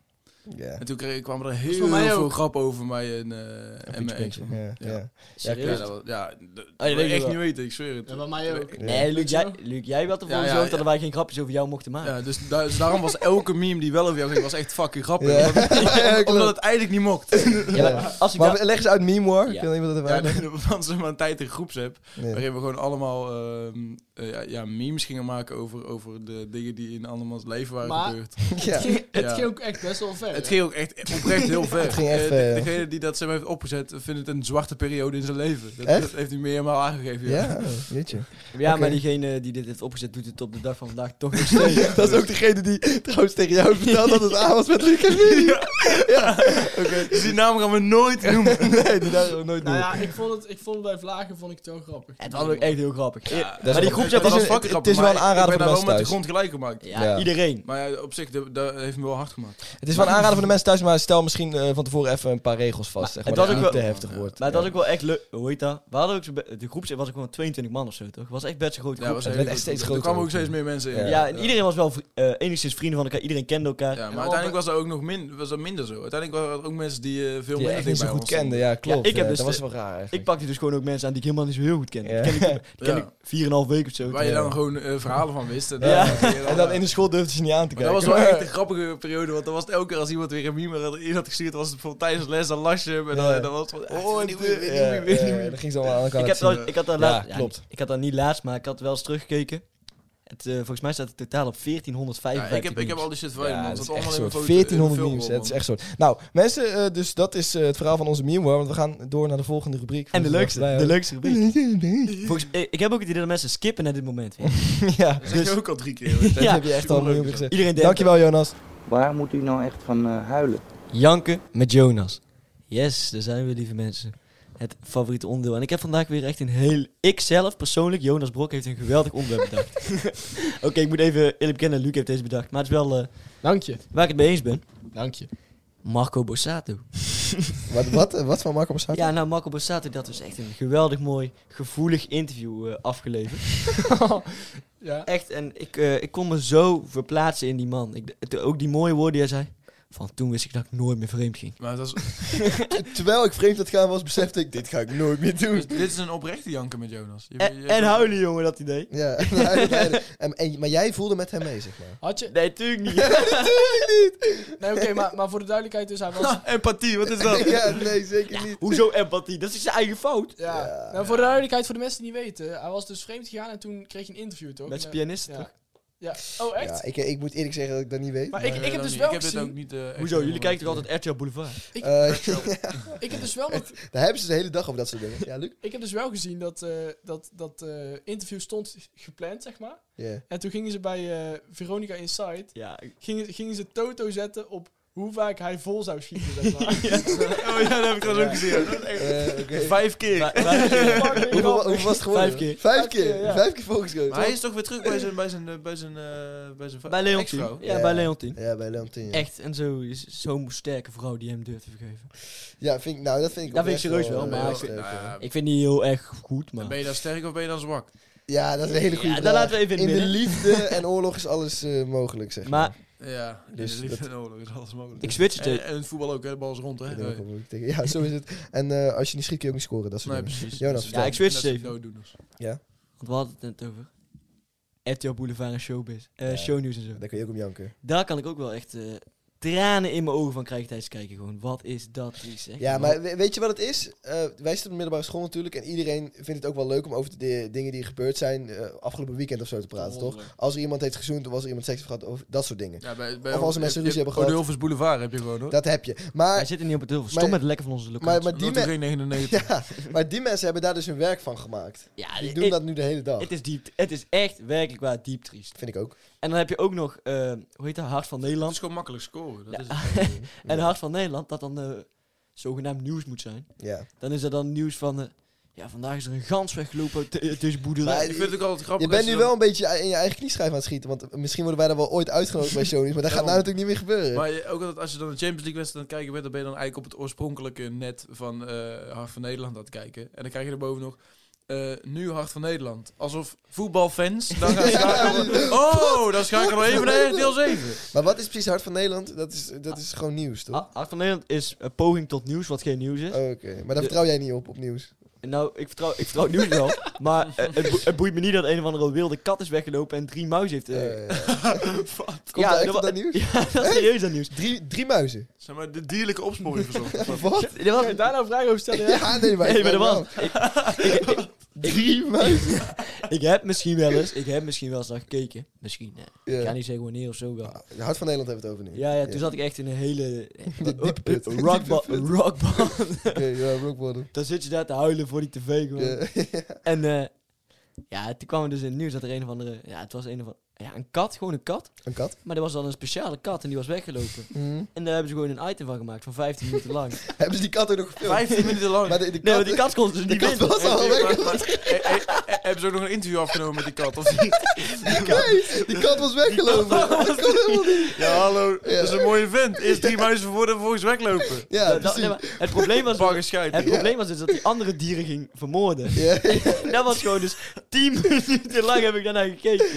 B: Ja.
C: En toen kreeg, kwam er heel
E: voor mij
C: veel
E: ook.
C: grap over mij en, eh, en
B: Een
C: mijn ex.
B: puntje, puntje. Ja,
C: Ja.
B: ja.
C: Ja,
D: Serieus?
C: dat was- ja, dat-
D: dat
C: dat wil ik
D: weet ik
C: echt
D: wel.
C: niet weten, ik zweer het.
E: Ja, bij mij ook.
B: Ja.
D: Nee, Luc, jij,
E: Weet
D: Luc, jij had ervoor
C: Ja, ja,
D: gezorgd
C: ja.
D: dat wij geen grapjes over jou mochten maken.
C: Ja, dus, da- dus daarom was elke meme die wel over jou ging, was echt fucking grappig.
B: Ja.
C: Omdat,
B: Ja, klopt.
C: omdat het eigenlijk niet mocht.
D: Ja, maar als ik
B: Maar
D: daar-
B: leg eens uit Meme War.
D: Ja.
B: Ik wil niet wat het
C: Ja,
B: waren.
C: nee, want ze maar een tijd in groepsapp,
B: Nee.
C: waarin we gewoon allemaal ehm, eh, ja, ja, memes gingen maken over, over de dingen die in andermans leven waren
E: Maar-
C: gebeurd.
B: Ja.
E: Het, ging, het
C: Ja.
E: ging ook echt best wel ver.
C: Het ging ook echt oprecht heel ver.
B: Het ging echt
C: Eh,
B: ver, ja.
C: Degene die dat ze heeft opgezet, vindt het een zwarte periode in zijn leven. Dat,
B: Echt?
C: dat heeft hij meermaal aangegeven. Ja.
B: Ja, oh, jeetje.
D: Ja,
B: Oké.
D: maar diegene die dit heeft opgezet doet het op de dag van vandaag toch nog
B: dat is ook degene die trouwens tegen jou vertelde dat het aan was met Luc en Mie. Oké.
C: Dus die naam gaan we nooit noemen.
B: nee, die daar gaan we nooit doen.
E: Nou ja, ik vond het, ik vond het bij Vlagen vond ik het heel grappig.
D: Het was ook echt heel grappig.
B: dat is
D: maar die
B: wel-
D: groep
B: het is
D: was...
B: een- het is wel een aanrader
C: Ik
B: voor
C: ben
B: de
C: daar wel
B: mensen
C: met de
B: thuis.
C: grond gelijk gemaakt.
D: Ja,
B: Ja.
D: iedereen.
C: Maar ja, op zich, dat, dat heeft me wel hard gemaakt.
B: Het is wel een aanrader voor de mensen thuis, maar stel misschien eh, van tevoren even een paar regels vast. Zeg maar,
D: het
B: dat het
D: was
B: niet
D: ook
B: te
D: wel-
B: heftig wordt.
D: Maar
B: Ja.
D: dat was ook wel echt leuk. Hoe heet dat? We hadden ook zo be- de groep was ook gewoon 22 man of zo, toch? Het was echt best een grote
C: Ja,
D: groep.
C: was
B: werd
C: heel
B: echt
C: goed.
B: steeds
C: Er kwamen ook
B: groter.
C: steeds meer mensen in.
B: Ja.
D: Ja, en iedereen was wel vri- eh, enigszins vrienden van elkaar. Iedereen kende elkaar.
C: Ja,
D: Ja,
C: maar uiteindelijk was dat ook nog min, was dat minder zo. Uiteindelijk waren er ook mensen die eh, veel
B: Die je
C: minder
B: echt niet
C: dicht
B: zo
C: bij
B: goed
C: ons stonden.
B: kende, ja, klopt.
D: ik heb
B: Ja,
D: dus
B: dat was
D: de-
B: wel raar eigenlijk.
D: ik pakte dus gewoon ook mensen aan die ik helemaal niet zo heel goed kende.
B: Ja.
D: Die ken ik, die ken
C: Ja.
D: ik 4,5 weken of zo.
C: Waar je
B: Ja.
C: dan gewoon eh, verhalen van wist. En,
D: Ja.
B: En dan in de school durfde ze niet aan te
C: Maar dat
B: kijken.
C: was wel echt een grappige periode, want dan was het elke keer als iemand weer een meme had, iemand gestuurd was, het bijvoorbeeld tijdens les, dan las je hem en dan,
B: Ja.
C: en dan was het van, oh, die
B: Ja, ja, ja, dan ging ze allemaal aan elkaar
D: Ik, heb
B: laten
D: dat,
B: zien.
D: ik had dat
B: Ja,
D: laat- ja,
B: klopt.
D: Ik had dat niet laatst, maar ik had wel eens teruggekeken. Het, eh, volgens mij staat het totaal op 1455.
C: ik, heb, ik heb al die shit verwijderd,
B: Ja,
C: want
B: dat
C: het
B: is
C: zat allemaal
B: echt
C: in mijn
B: soort
C: foto-
B: 1400
C: in mijn
B: memes.
C: filmalbum.
B: Het is echt soort. Nou, mensen, eh, dus dat is eh, het verhaal van onze meme war, Want we gaan door naar de volgende rubriek. Dus
D: En de leukste, de leukste rubriek.
B: leukste.
D: Volgens, eh, ik, ik heb ook het idee dat mensen skippen naar dit moment weer.
B: ja,
C: Dat zeg je
D: Dus-
C: ook al drie keer. hoor.
B: dat
D: Ja.
B: heb je echt al een miljoen keer
C: Superleuk is
B: gezegd.
D: Iedereen denkt,
B: Dankjewel, Jonas.
F: Waar moet u nou echt van eh, huilen?
D: janken met Jonas. Yes, daar zijn we lieve mensen. Het favoriete onderdeel. En ik heb vandaag weer echt een heel... Ik zelf, persoonlijk, Jonas Brok, heeft een geweldig onderwerp bedacht. Oké, ik moet even eerlijk bekennen, Luc heeft deze bedacht. Maar het is wel eh,
E: Dank je,
D: waar ik het mee eens ben.
E: dank je.
D: Marco Borsato.
B: Wat, wat, eh, wat van Marco Borsato?
D: Ja, nou Marco Borsato, dat was echt een geweldig mooi, gevoelig interview eh, afgeleverd.
E: Ja.
D: Echt, en ik, eh, ik kon me zo verplaatsen in die man. Ik, het- ook die mooie woorden die hij zei. Van toen wist ik dat ik nooit meer vreemd ging.
C: Maar dat is,
B: Terwijl ik vreemd dat gaan was, besefte ik, dit ga ik nooit meer doen.
C: dus dit is een oprechte janken met Jonas. Je-
D: En,
C: je-
D: en huilen, jongen, dat idee.
B: Ja, maar jij voelde met hem mee, zeg maar.
E: Had je?
D: Nee, tuurlijk niet.
E: Nee, oké, maar, maar voor de duidelijkheid dus, hij was...
C: Ha, empathie, wat is dat?
B: Ja, nee, zeker niet.
D: Hoezo empathie? Dat is zijn eigen fout.
E: Ja. nou, voor de duidelijkheid, voor de mensen die niet weten. Hij was dus vreemd gegaan en toen kreeg je een interview, toch?
D: Met zijn
E: Ja.
D: pianist, toch?
E: Ja. Oh, echt?
B: ik, ik moet eerlijk zeggen dat ik dat niet weet.
E: Maar ik,
C: Nee,
E: ik heb
C: dat
E: dus
C: niet.
E: wel
C: ik heb dit ook
E: gezien...
C: niet, eh, echt
D: Hoezo? Jullie
C: helemaal
D: kijken toch
C: niet.
D: altijd RTL Boulevard?
B: Eh,
E: Ik heb dus wel nog
B: daar hebben ze de hele dag over dat soort dingen. Ja, Luc?
E: Ik heb dus wel gezien dat eh, dat, dat eh, interview stond gepland, zeg maar.
B: Ja.
E: En toen gingen ze bij eh, Veronica Inside,
D: Ja.
E: gingen, gingen ze Toto zetten op hoe vaak hij vol zou schieten, zeg maar.
C: Oh ja, dat heb ik trouwens ook gezien. Dat is echt-
B: Eh, oké.
C: Vijf keer.
D: Maar- maar-
E: Fucking
B: Hoeveel,
E: grappig.
B: hoeveel was het geworden?
D: Vijf keer.
B: Vijf
E: Vijf
B: keer,
E: keer, ja.
B: Vijf keer volgeschoten.
C: Maar hij is toch weer terug bij zijn bij zijn eh, bij zijn eh, bij zijn
D: bij Leontien.
C: ex-vrouw?
D: Ja,
B: Ja.
D: bij Leontien.
B: Ja, bij Leon 10. ja.
D: Echt, en zo is zo'n sterke vrouw die hem durft te vergeven.
B: Ja, vind ik, nou, dat vind ik
D: Dat vind ik
B: oprecht
D: serieus wel,
B: eh,
D: maar
B: heel
D: ik
B: sterk,
C: Nou
B: ja.
C: ja,
D: Ik vind die heel erg goed, maar...
C: ben je dan sterk of ben je dan zwak?
B: Ja, dat is een hele goede
D: Ja,
B: vraag.
D: dat laten we even in
B: in
D: het
B: de
D: midden.
B: liefde en oorlog is alles eh, mogelijk, zeg maar.
D: Maar
C: Ja,
B: Dus
C: dus liefde
B: dat-
C: en oorlog is alles mogelijk.
D: ik switch het.
C: en,
D: eh,
C: en het voetbal ook, hè? de bal is rond, hè?
B: Ik weet ook wel moeilijk tegen- Ja, zo is het. En eh, als je niet schiet, kun je ook niet scoren. Dat soort
C: Nee,
B: dingen.
C: precies.
B: Jonas,
D: Ja, ik switch het even.
C: dooddoeners.
D: Want we hadden het net over. RTL Boulevard en Showbiz. eh,
B: Ja.
D: Shownieuws en zo.
B: Daar kun je ook om janken.
D: Daar kan ik ook wel echt eh, tranen in mijn ogen van krijgen tijdens het kijken. Gewoon, wat is dat? Dries, echt?
B: Ja,
D: Wat-
B: maar we- weet je wat het is? Eh, wij zitten op de middelbare school natuurlijk. En iedereen vindt het ook wel leuk om over de di- dingen die gebeurd zijn eh, afgelopen weekend of zo te praten, toch? Als er iemand heeft gezoend of als er iemand seks heeft gehad, of dat soort dingen.
C: Ja, bij, bij
B: Of als er mensen ruzie hebben gehad.
C: de Hilvers Boulevard heb je gewoon, hoor.
B: Dat heb je.
D: Wij
B: Maar,
D: zitten niet op het heel
B: maar-
D: Stop met het lekken van onze locatie.
B: maar, maar, die me-
C: 99.
B: ja, maar die mensen hebben daar dus hun werk van gemaakt.
D: ja,
B: Die
D: ik-
B: doen dat nu de hele dag.
D: Het is, diep, het is echt werkelijk waar diep triest.
B: Vind ik ook.
D: En dan heb je ook nog, eh, hoe heet dat, Hart van
C: Dat
D: Nederland.
C: is gewoon makkelijk scoren. Dat
D: Ja.
C: is
D: En Hart van Nederland, dat dan eh, zogenaamd nieuws moet zijn.
B: Ja.
D: Dan is er dan nieuws van, eh, ja, vandaag is er een gans weggelopen t- eh, tussen boerderijen.
B: Maar-
C: het. Ik vind het ook altijd grappig.
B: Je bent nu wel een beetje in je eigen knieschijf aan het schieten. Want misschien worden wij daar wel ooit uitgenodigd bij Sony's. Maar dat gaat nou natuurlijk niet meer gebeuren.
C: Maar je- ook altijd als je dan de Champions League wedstrijd aan het kijken bent, dan ben je dan eigenlijk op het oorspronkelijke net van eh Hart van Nederland aan het kijken. En dan krijg je erboven nog. eh, nu Hart van Nederland. Alsof voetbalfans dan gaan schakelen. Oh, dan schakelen we even naar RTL 7.
B: maar wat is precies Hart van Nederland? Dat is, dat is gewoon nieuws, toch? Oh.
D: Ha- Hart van Nederland is een poging tot nieuws wat geen nieuws is.
B: Oké, maar daar
D: dus? De-
B: vertrouw jij niet op, op nieuws.
D: Nou, ik vertrouw, ik vertrouw het nieuws wel. Maar eh, het, boe- het boeit me niet dat een of andere wilde kat is weggelopen en drie muizen heeft. eh,
B: Eh, Komt
D: ja,
B: daar echt
D: dat
B: op
D: wa-
B: dat nieuws?
D: ja, dat is serieus dat nieuws.
B: Drie, drie muizen?
C: Zeg maar, de dierlijke opsporing verzocht.
B: Wat?
D: Er was-
E: Kan je daar nou vragen over stellen? hè?
B: Ja, nee, maar...
D: Nee, maar er
B: wel.
D: was. Ik, ik,
B: Drie muizen?
D: ik heb misschien wel eens, ik heb misschien wel eens naar gekeken. Misschien. eh, Ik ga
B: Ja.
D: niet zeggen wanneer of zo wel.
B: Ah, Hart van Nederland hebben we het over nu.
D: Ja, ja, toen zat ik echt in een hele eh,
B: diepe put.
D: rockband. rockband.
B: Oké, ja, rockbottom.
D: Dan zit je daar te huilen voor die tv gewoon.
B: Ja.
D: En eh, ja, toen kwam er dus in het nieuws dat er een of andere. Ja, het was een of andere. ja, een kat, gewoon een kat.
B: Een kat.
D: Maar er was dan een speciale kat en die was weggelopen.
B: Mhm.
D: En daar hebben ze gewoon een item van gemaakt van 15 minuten lang.
B: Hebben ze die kat ook nog gefilmd?
C: 15 minuten lang.
B: Maar de, de
D: Nee,
B: kat,
D: maar die kat kon dus
B: die
D: niet
B: kat
D: binnen.
B: was al weg.
C: eh, Hebben ze ook nog een interview afgenomen met die kat? Of niet?
B: Nee, die kat was weggelopen. Dat kon helemaal niet.
C: Ja, hallo.
B: Ja.
C: Dat is een mooie vent. Eerst drie muizen voor en vervolgens weglopen.
B: Ja,
D: Dat- dat- nee,
B: precies.
D: maar het probleem was,
C: Bagger scheid.
D: het probleem was dus dat die andere dieren ging vermoorden.
B: Ja, oké.
D: Dat was gewoon dus 10 minuten lang heb ik daarnaar gekeken.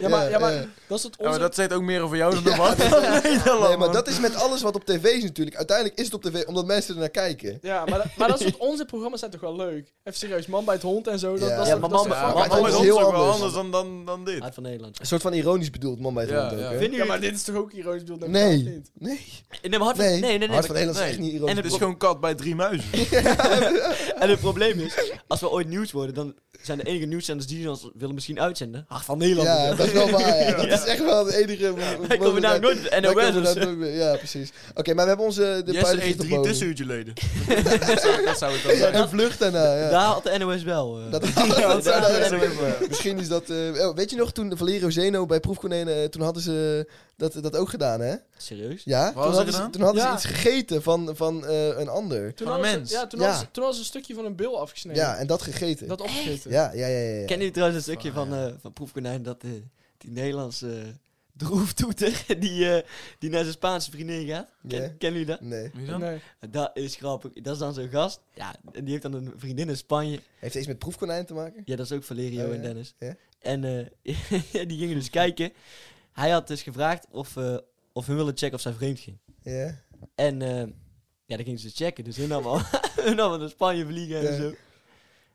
E: Ja, maar, ja, maar
B: ja.
E: dat is het
C: Ja, maar
E: onze...
C: dat zegt ook meer over jou dan over wat. Nederland,
B: Nee, maar
C: man.
B: dat is met alles wat op tv is natuurlijk. Uiteindelijk is het op tv omdat mensen er naar kijken.
E: Ja, maar, dat- maar dat soort onze programma's zijn toch wel leuk. Even serieus, man bij het hond en zo. Dat,
B: Ja.
E: dat
D: Ja, maar
E: soort- dat
D: man-
E: soort
C: Ja,
E: fucking-
B: dat
C: maar dat
B: is
C: is
B: heel
C: heel ook wel
B: anders.
C: anders dan, dan, dan dit.
D: Uit van Nederland.
B: Een soort van ironisch bedoeld, man bij het
C: Ja,
B: hond ook,
C: ja.
B: hè?
D: Vinden
E: Ja,
D: jullie
E: maar dit is toch ook ironisch bedoeld?
B: Nee.
E: totaal niet.
B: Nee.
D: Nee, nou maar hard
B: Nee.
D: nee, nee, nee,
B: Hart van Nederland is
C: nee.
B: echt niet
D: En
B: ironisch.
D: het
C: Het is
D: pro-
C: gewoon kat bij drie muizen.
D: en het probleem is, als we ooit nieuws worden, dan zijn de enige nieuwszenders die ons willen misschien uitzenden. Hart van Nederland.
B: Ja, dat is wel waar. ja. Dat
D: Ja.
B: is echt wel de enige...
D: Wij komen daar nooit de
B: Wij komen
D: NOS of
B: daar
D: zo.
B: nooit meer- Ja, precies. Oké, maar we hebben onze... De
C: Jesse
B: pilot
C: eet drie
B: op-
C: tussenuurtjeleden. dat, zou, dat zou het dan zijn.
B: En vlucht daarna, ja.
D: Daar had de NOS wel. eh.
B: Dat,
D: Ja,
B: dat zou
D: daar-
B: daar- Misschien is dat... eh, oh, weet je nog, toen Valerio Zeno bij Proefkonijnen... eh, toen hadden ze dat, dat ook gedaan, hè?
D: Serieus?
B: Ja,
C: hadden
B: toen
C: ze
B: hadden, ze,
C: gedaan?
B: toen hadden ze
E: Ja.
B: iets gegeten van, van eh, een ander.
E: Toen
C: Van een
E: hadden ze-
C: mens.
E: Ja, toen,
B: Ja.
E: Hadden ze, toen hadden ze een stukje van een bil afgesneden.
B: Ja, en dat gegeten.
E: Dat opgegeten.
B: ja, ja, ja, ja. ja.
D: Ken je trouwens een stukje van, eh, van Proefkonijn dat eh, die Nederlandse eh, droeftoeter die, eh, die naar zijn Spaanse vriendin gaat? Ken,
B: Ja.
D: Kennen jullie dat?
B: Nee.
C: Wie dan?
E: Nee.
D: Dat is grappig. Dat is dan zo'n gast. Ja, en die heeft dan een vriendin in Spanje.
B: Heeft het iets met proefkonijn te maken?
D: Ja, dat is ook Valerio
B: Oh, ja.
D: en Dennis.
B: Ja.
D: En eh, die gingen dus kijken. Hij had dus gevraagd of, eh, of hun willen checken of zij vreemd ging.
B: Ja.
D: En eh, ja, dan gingen ze checken. Dus hun allemaal, hun allemaal naar Spanje vliegen en
B: Ja.
D: zo.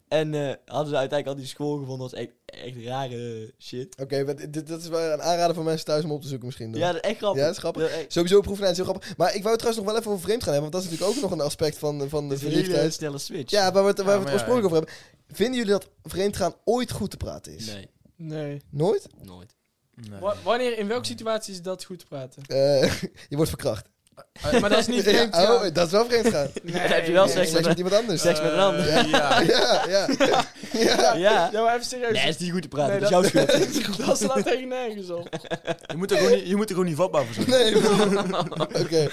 D: En eh, hadden ze uiteindelijk al die school gevonden. Dat was echt, echt rare eh, shit.
B: Oké, maar dit- dit- dat is wel een aanrader voor mensen thuis om op te zoeken misschien. Dan.
D: Ja, dat is echt grappig.
B: Ja, dat is grappig.
D: Dat echt-
B: Sowieso proefkonijn is heel grappig. Maar ik wou het trouwens nog wel even over vreemd gaan hebben, want dat is natuurlijk ook nog een aspect van, eh, van de
D: dat is een hele
B: verliefdheid.
D: snelle switch.
B: Ja, waar we het, waar we
C: Ja,
B: het
C: maar ja,
B: oorspronkelijk over hebben. Vinden jullie dat vreemd gaan ooit goed te praten is?
D: Nee,
E: Nee.
B: Nooit?
D: nooit.
C: Nee.
E: Wa- wanneer, in welke situatie is dat goed te praten?
B: Eh, je wordt verkracht.
C: Eh, maar dat is niet...
E: Niet
B: Ja,
E: vreemd gaan.
B: oh, dat is wel vreemd gaan.
D: Dan heb je wel
E: nee.
D: seks
B: Seks
D: met
B: met
D: een...
B: iemand anders.
D: Seks met een ander.
C: Eh, ja.
B: Ja, ja.
D: Ja.
E: Ja, maar even serieus.
D: Nee, is niet goed te praten.
E: Nee,
D: dat is jouw schuld.
E: dat slaat tegen nergens op.
C: Je, moet er gewoon niet, je moet er gewoon niet vatbaar voor zijn.
B: Nee. Oké.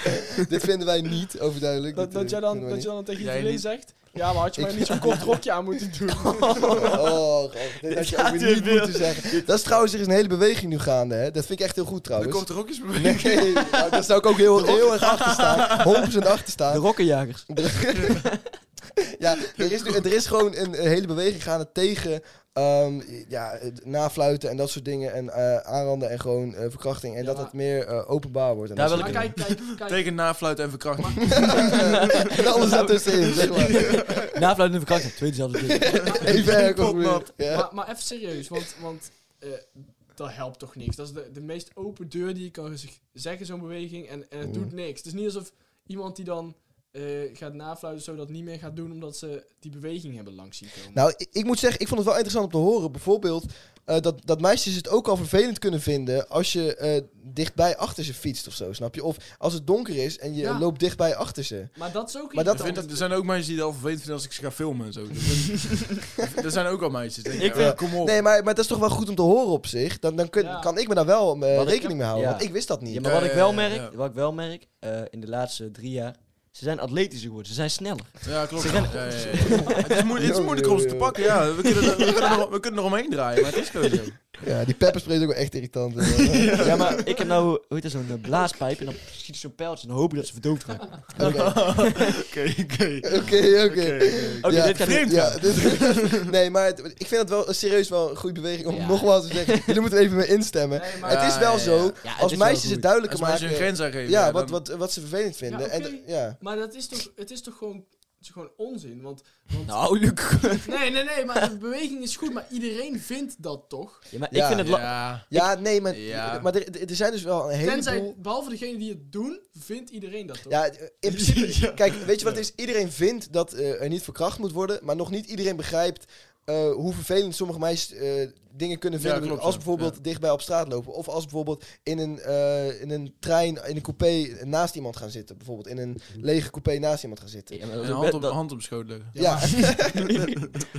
B: Dit vinden wij niet, overduidelijk.
E: Dat,
B: Dit,
E: dat,
B: eh,
E: jij dan,
B: vinden wij
E: dat je dan tegen je
C: Jij
E: vriendin
C: niet.
E: zegt... Ja, maar had je
B: Ik-
E: maar niet zo'n kort rokje aan moeten doen.
B: Oh, god. Dat had je
D: gaat
B: ook weer
D: weer
B: niet
D: wild.
B: moeten zeggen. Dat is trouwens, er is een hele beweging nu gaande, hè. Dat vind ik echt heel goed,
C: De
B: trouwens.
C: korte rokjes bewegen.
B: Nee, nou, daar zou ik ook heel, heel erg achter staan. 100% achter
D: De
B: staan.
D: rokkenjagers.
B: Ja, er is, nu, er is gewoon een, een hele beweging gaande tegen ehm, ja, het nafluiten en dat soort dingen. En eh, aanranden en gewoon eh, verkrachting. En
E: Ja,
B: dat
E: maar-
B: het meer eh, openbaar wordt. En
D: Daar
B: dat
D: wil
E: Maar
B: soort
E: kijk, kijk, kijk.
C: Tegen nafluit en verkrachting.
B: dingen. En alles ertussenin, zeg maar.
D: Nafluit en verkrachting. Twee dezelfde dingen.
B: Even erg
C: Potnat.
B: Ja.
E: Maar, maar even serieus, want, want eh, dat helpt toch niks. Dat is de, de meest open deur die je kan zeg- zeggen, zo'n beweging. En, en het
B: Mm.
E: doet niks. Het is niet alsof iemand die dan eh, gaat nafluiten, zo dat niet meer gaat doen, omdat ze die beweging hebben langs zien komen.
B: Nou, ik, ik moet zeggen, ik vond het wel interessant om te horen. Bijvoorbeeld eh, dat, dat meisjes het ook al vervelend kunnen vinden als je eh, dichtbij achter ze fietst of zo, snap je? Of als het donker is en je
E: Ja.
B: loopt dichtbij achter ze.
E: maar dat is ook
B: maar dat-
C: Ik vind
E: irritant.
C: dat- er zijn ook meisjes die het al vervelend vinden als ik ze ga filmen en zo. Dus- er zijn ook al meisjes. Denk ik,
D: Ik
C: ik
D: wil-
C: kom op.
B: Nee, maar, maar dat is toch wel goed om te horen op zich. Dan, dan kun,
E: Ja.
B: kan ik me daar wel eh,
D: Wat ik-
B: rekening mee houden,
D: ja.
B: want ik wist dat niet.
D: Ja,
B: Ja,
D: maar
C: Ja,
D: wat ik
C: ja,
D: wel
C: ja,
D: merk,
C: ja.
D: wat ik wel merk eh, in de laatste drie jaar, ze zijn atletischer geworden. Ze zijn sneller.
C: Ja, klopt.
D: Ze
C: Ja,
D: rennen-
C: ja, ja, ja. Het is moe- het is moeilijk om ze te pakken. Ja, we kunnen, er, we, kunnen er, we kunnen er omheen draaien, maar het is gewoon zo.
B: die pepperspray is ook wel echt irritant. eh.
D: Ja, maar ik heb nou, hoe heet dat, zo'n eh, blaaspijp en dan schiet ik zo'n pijltje en dan hoop ik dat ze verdoofd raken. Oké,
B: Oké,
C: Oké, oké.
B: oké, oké. Ja,
D: dit gaat niet.
B: Ja, dit- nee, maar het- ik vind dat wel serieus wel een goede beweging om
D: Ja.
B: nogmaals te zeggen. Jullie moeten er even mee instemmen.
E: Nee, maar-
B: het is wel
C: Ja, ja, ja.
B: zo,
D: Ja, het
B: als
D: is wel
B: meisjes
D: goed.
B: het duidelijker
C: Als mensen een
B: maken.
C: grens aangeven.
B: Ja,
C: dan-
B: wat, wat, wat ze vervelend vinden.
E: Ja,
B: en,
E: oké.
B: d- ja.
E: Maar dat is toch, het is toch gewoon, het is gewoon onzin? Want, want
D: Nou, Luc.
E: Nee, nee, nee, maar de beweging is goed, maar iedereen vindt dat toch?
D: Ja, maar
B: Ja.
D: ik vind het... la-
C: Ja.
B: ja, nee, maar,
C: Ja.
B: maar er, er zijn dus wel een heleboel...
E: Tenzij, behalve degene die het doen, vindt iedereen dat toch?
B: Ja, in principe... Kijk, weet je wat het is? Iedereen vindt dat eh, er niet verkracht moet worden, maar nog niet iedereen begrijpt eh, hoe vervelend sommige meisjes eh, dingen kunnen vinden.
C: Ja, klopt,
B: als
C: ja.
B: bijvoorbeeld dichtbij op straat lopen. Of als bijvoorbeeld in een, eh, in een trein, in een coupé naast iemand gaan zitten. Bijvoorbeeld in een lege coupé naast iemand gaan zitten.
D: Ja, maar
C: En
D: dat
C: een
D: is ook
C: hand op,
D: best- dat-
C: hand op schoot leggen.
B: Ja,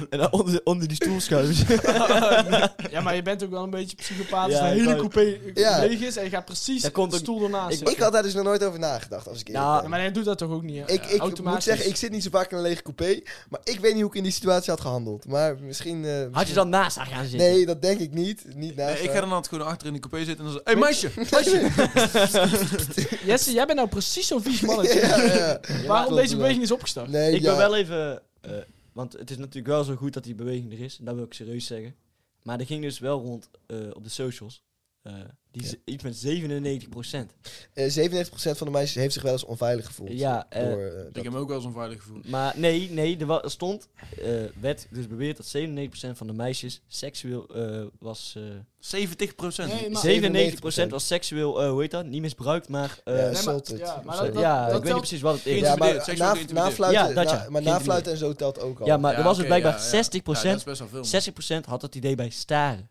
D: en dan onder, onder die stoel schuiven.
E: Ja, maar je bent ook wel een beetje psychopaat.
D: Ja,
E: als de
D: ik
E: hele
D: wou-
E: coupé eh,
B: Ja.
E: leeg is en je gaat precies
D: Daar komt
E: de
D: ook-
E: stoel ernaast
D: ik-
E: zitten.
B: ik had daar dus nog nooit over nagedacht. Als ik eerlijk
D: Nou,
B: ben.
E: Ja, maar hij doet dat toch ook niet? hè?
B: Ik, ik moet
E: Automatisch.
B: zeggen, ik zit niet zo vaak in een lege coupé. Maar ik weet niet hoe ik in die situatie had gehandeld. Maar misschien... eh,
D: Had je dan naast haar gaan zitten?
B: Nee, dat denk ik niet. Niet naast
C: Nee, ik ga
B: haar.
C: dan altijd gewoon achter in de coupé zitten en dan zo... Hé, hey, meisje!
E: Jesse, jij bent nou precies zo'n vies mannetje.
B: Ja, ja, ja.
E: Waarom
B: klopt,
E: deze
B: ja.
E: beweging is opgestart.
B: Nee,
D: ik
B: ja.
D: wil wel even... eh, want het is natuurlijk wel zo goed dat die beweging er is. En dat wil ik serieus zeggen. Maar er ging dus wel rond eh, op de socials. eh, die
B: Ja.
D: is iets met 97
B: Eh, 97% van de meisjes heeft zich wel eens onveilig gevoeld.
D: Ja, eh,
B: door, eh,
C: Ik
B: dat-
C: heb me ook wel eens onveilig gevoeld.
D: Maar nee, nee, er wa- er stond, eh werd dus beweerd dat 97% van de meisjes seksueel eh, was... eh,
C: 70 procent.
E: Nee, maar-
D: 97% was seksueel, eh, hoe heet dat? Niet misbruikt, maar... eh,
B: Ja,
E: Nee, maar-
B: assaulted.
E: ja, maar
B: Of zo.
E: dat-
D: ja, ik weet niet
E: telt-
D: precies wat het is.
C: Geen
D: Ja,
B: Ja,
C: geïntimideerd,
B: maar
C: seksueel
B: na,
C: geïntimideerd.
B: nafluiten,
D: Ja, dat ja.
B: na- maar nafluiten en zo telt ook al.
D: Ja, maar er was dus blijkbaar 60%,
C: dat is best wel veel.
D: 60% had dat idee bij staren.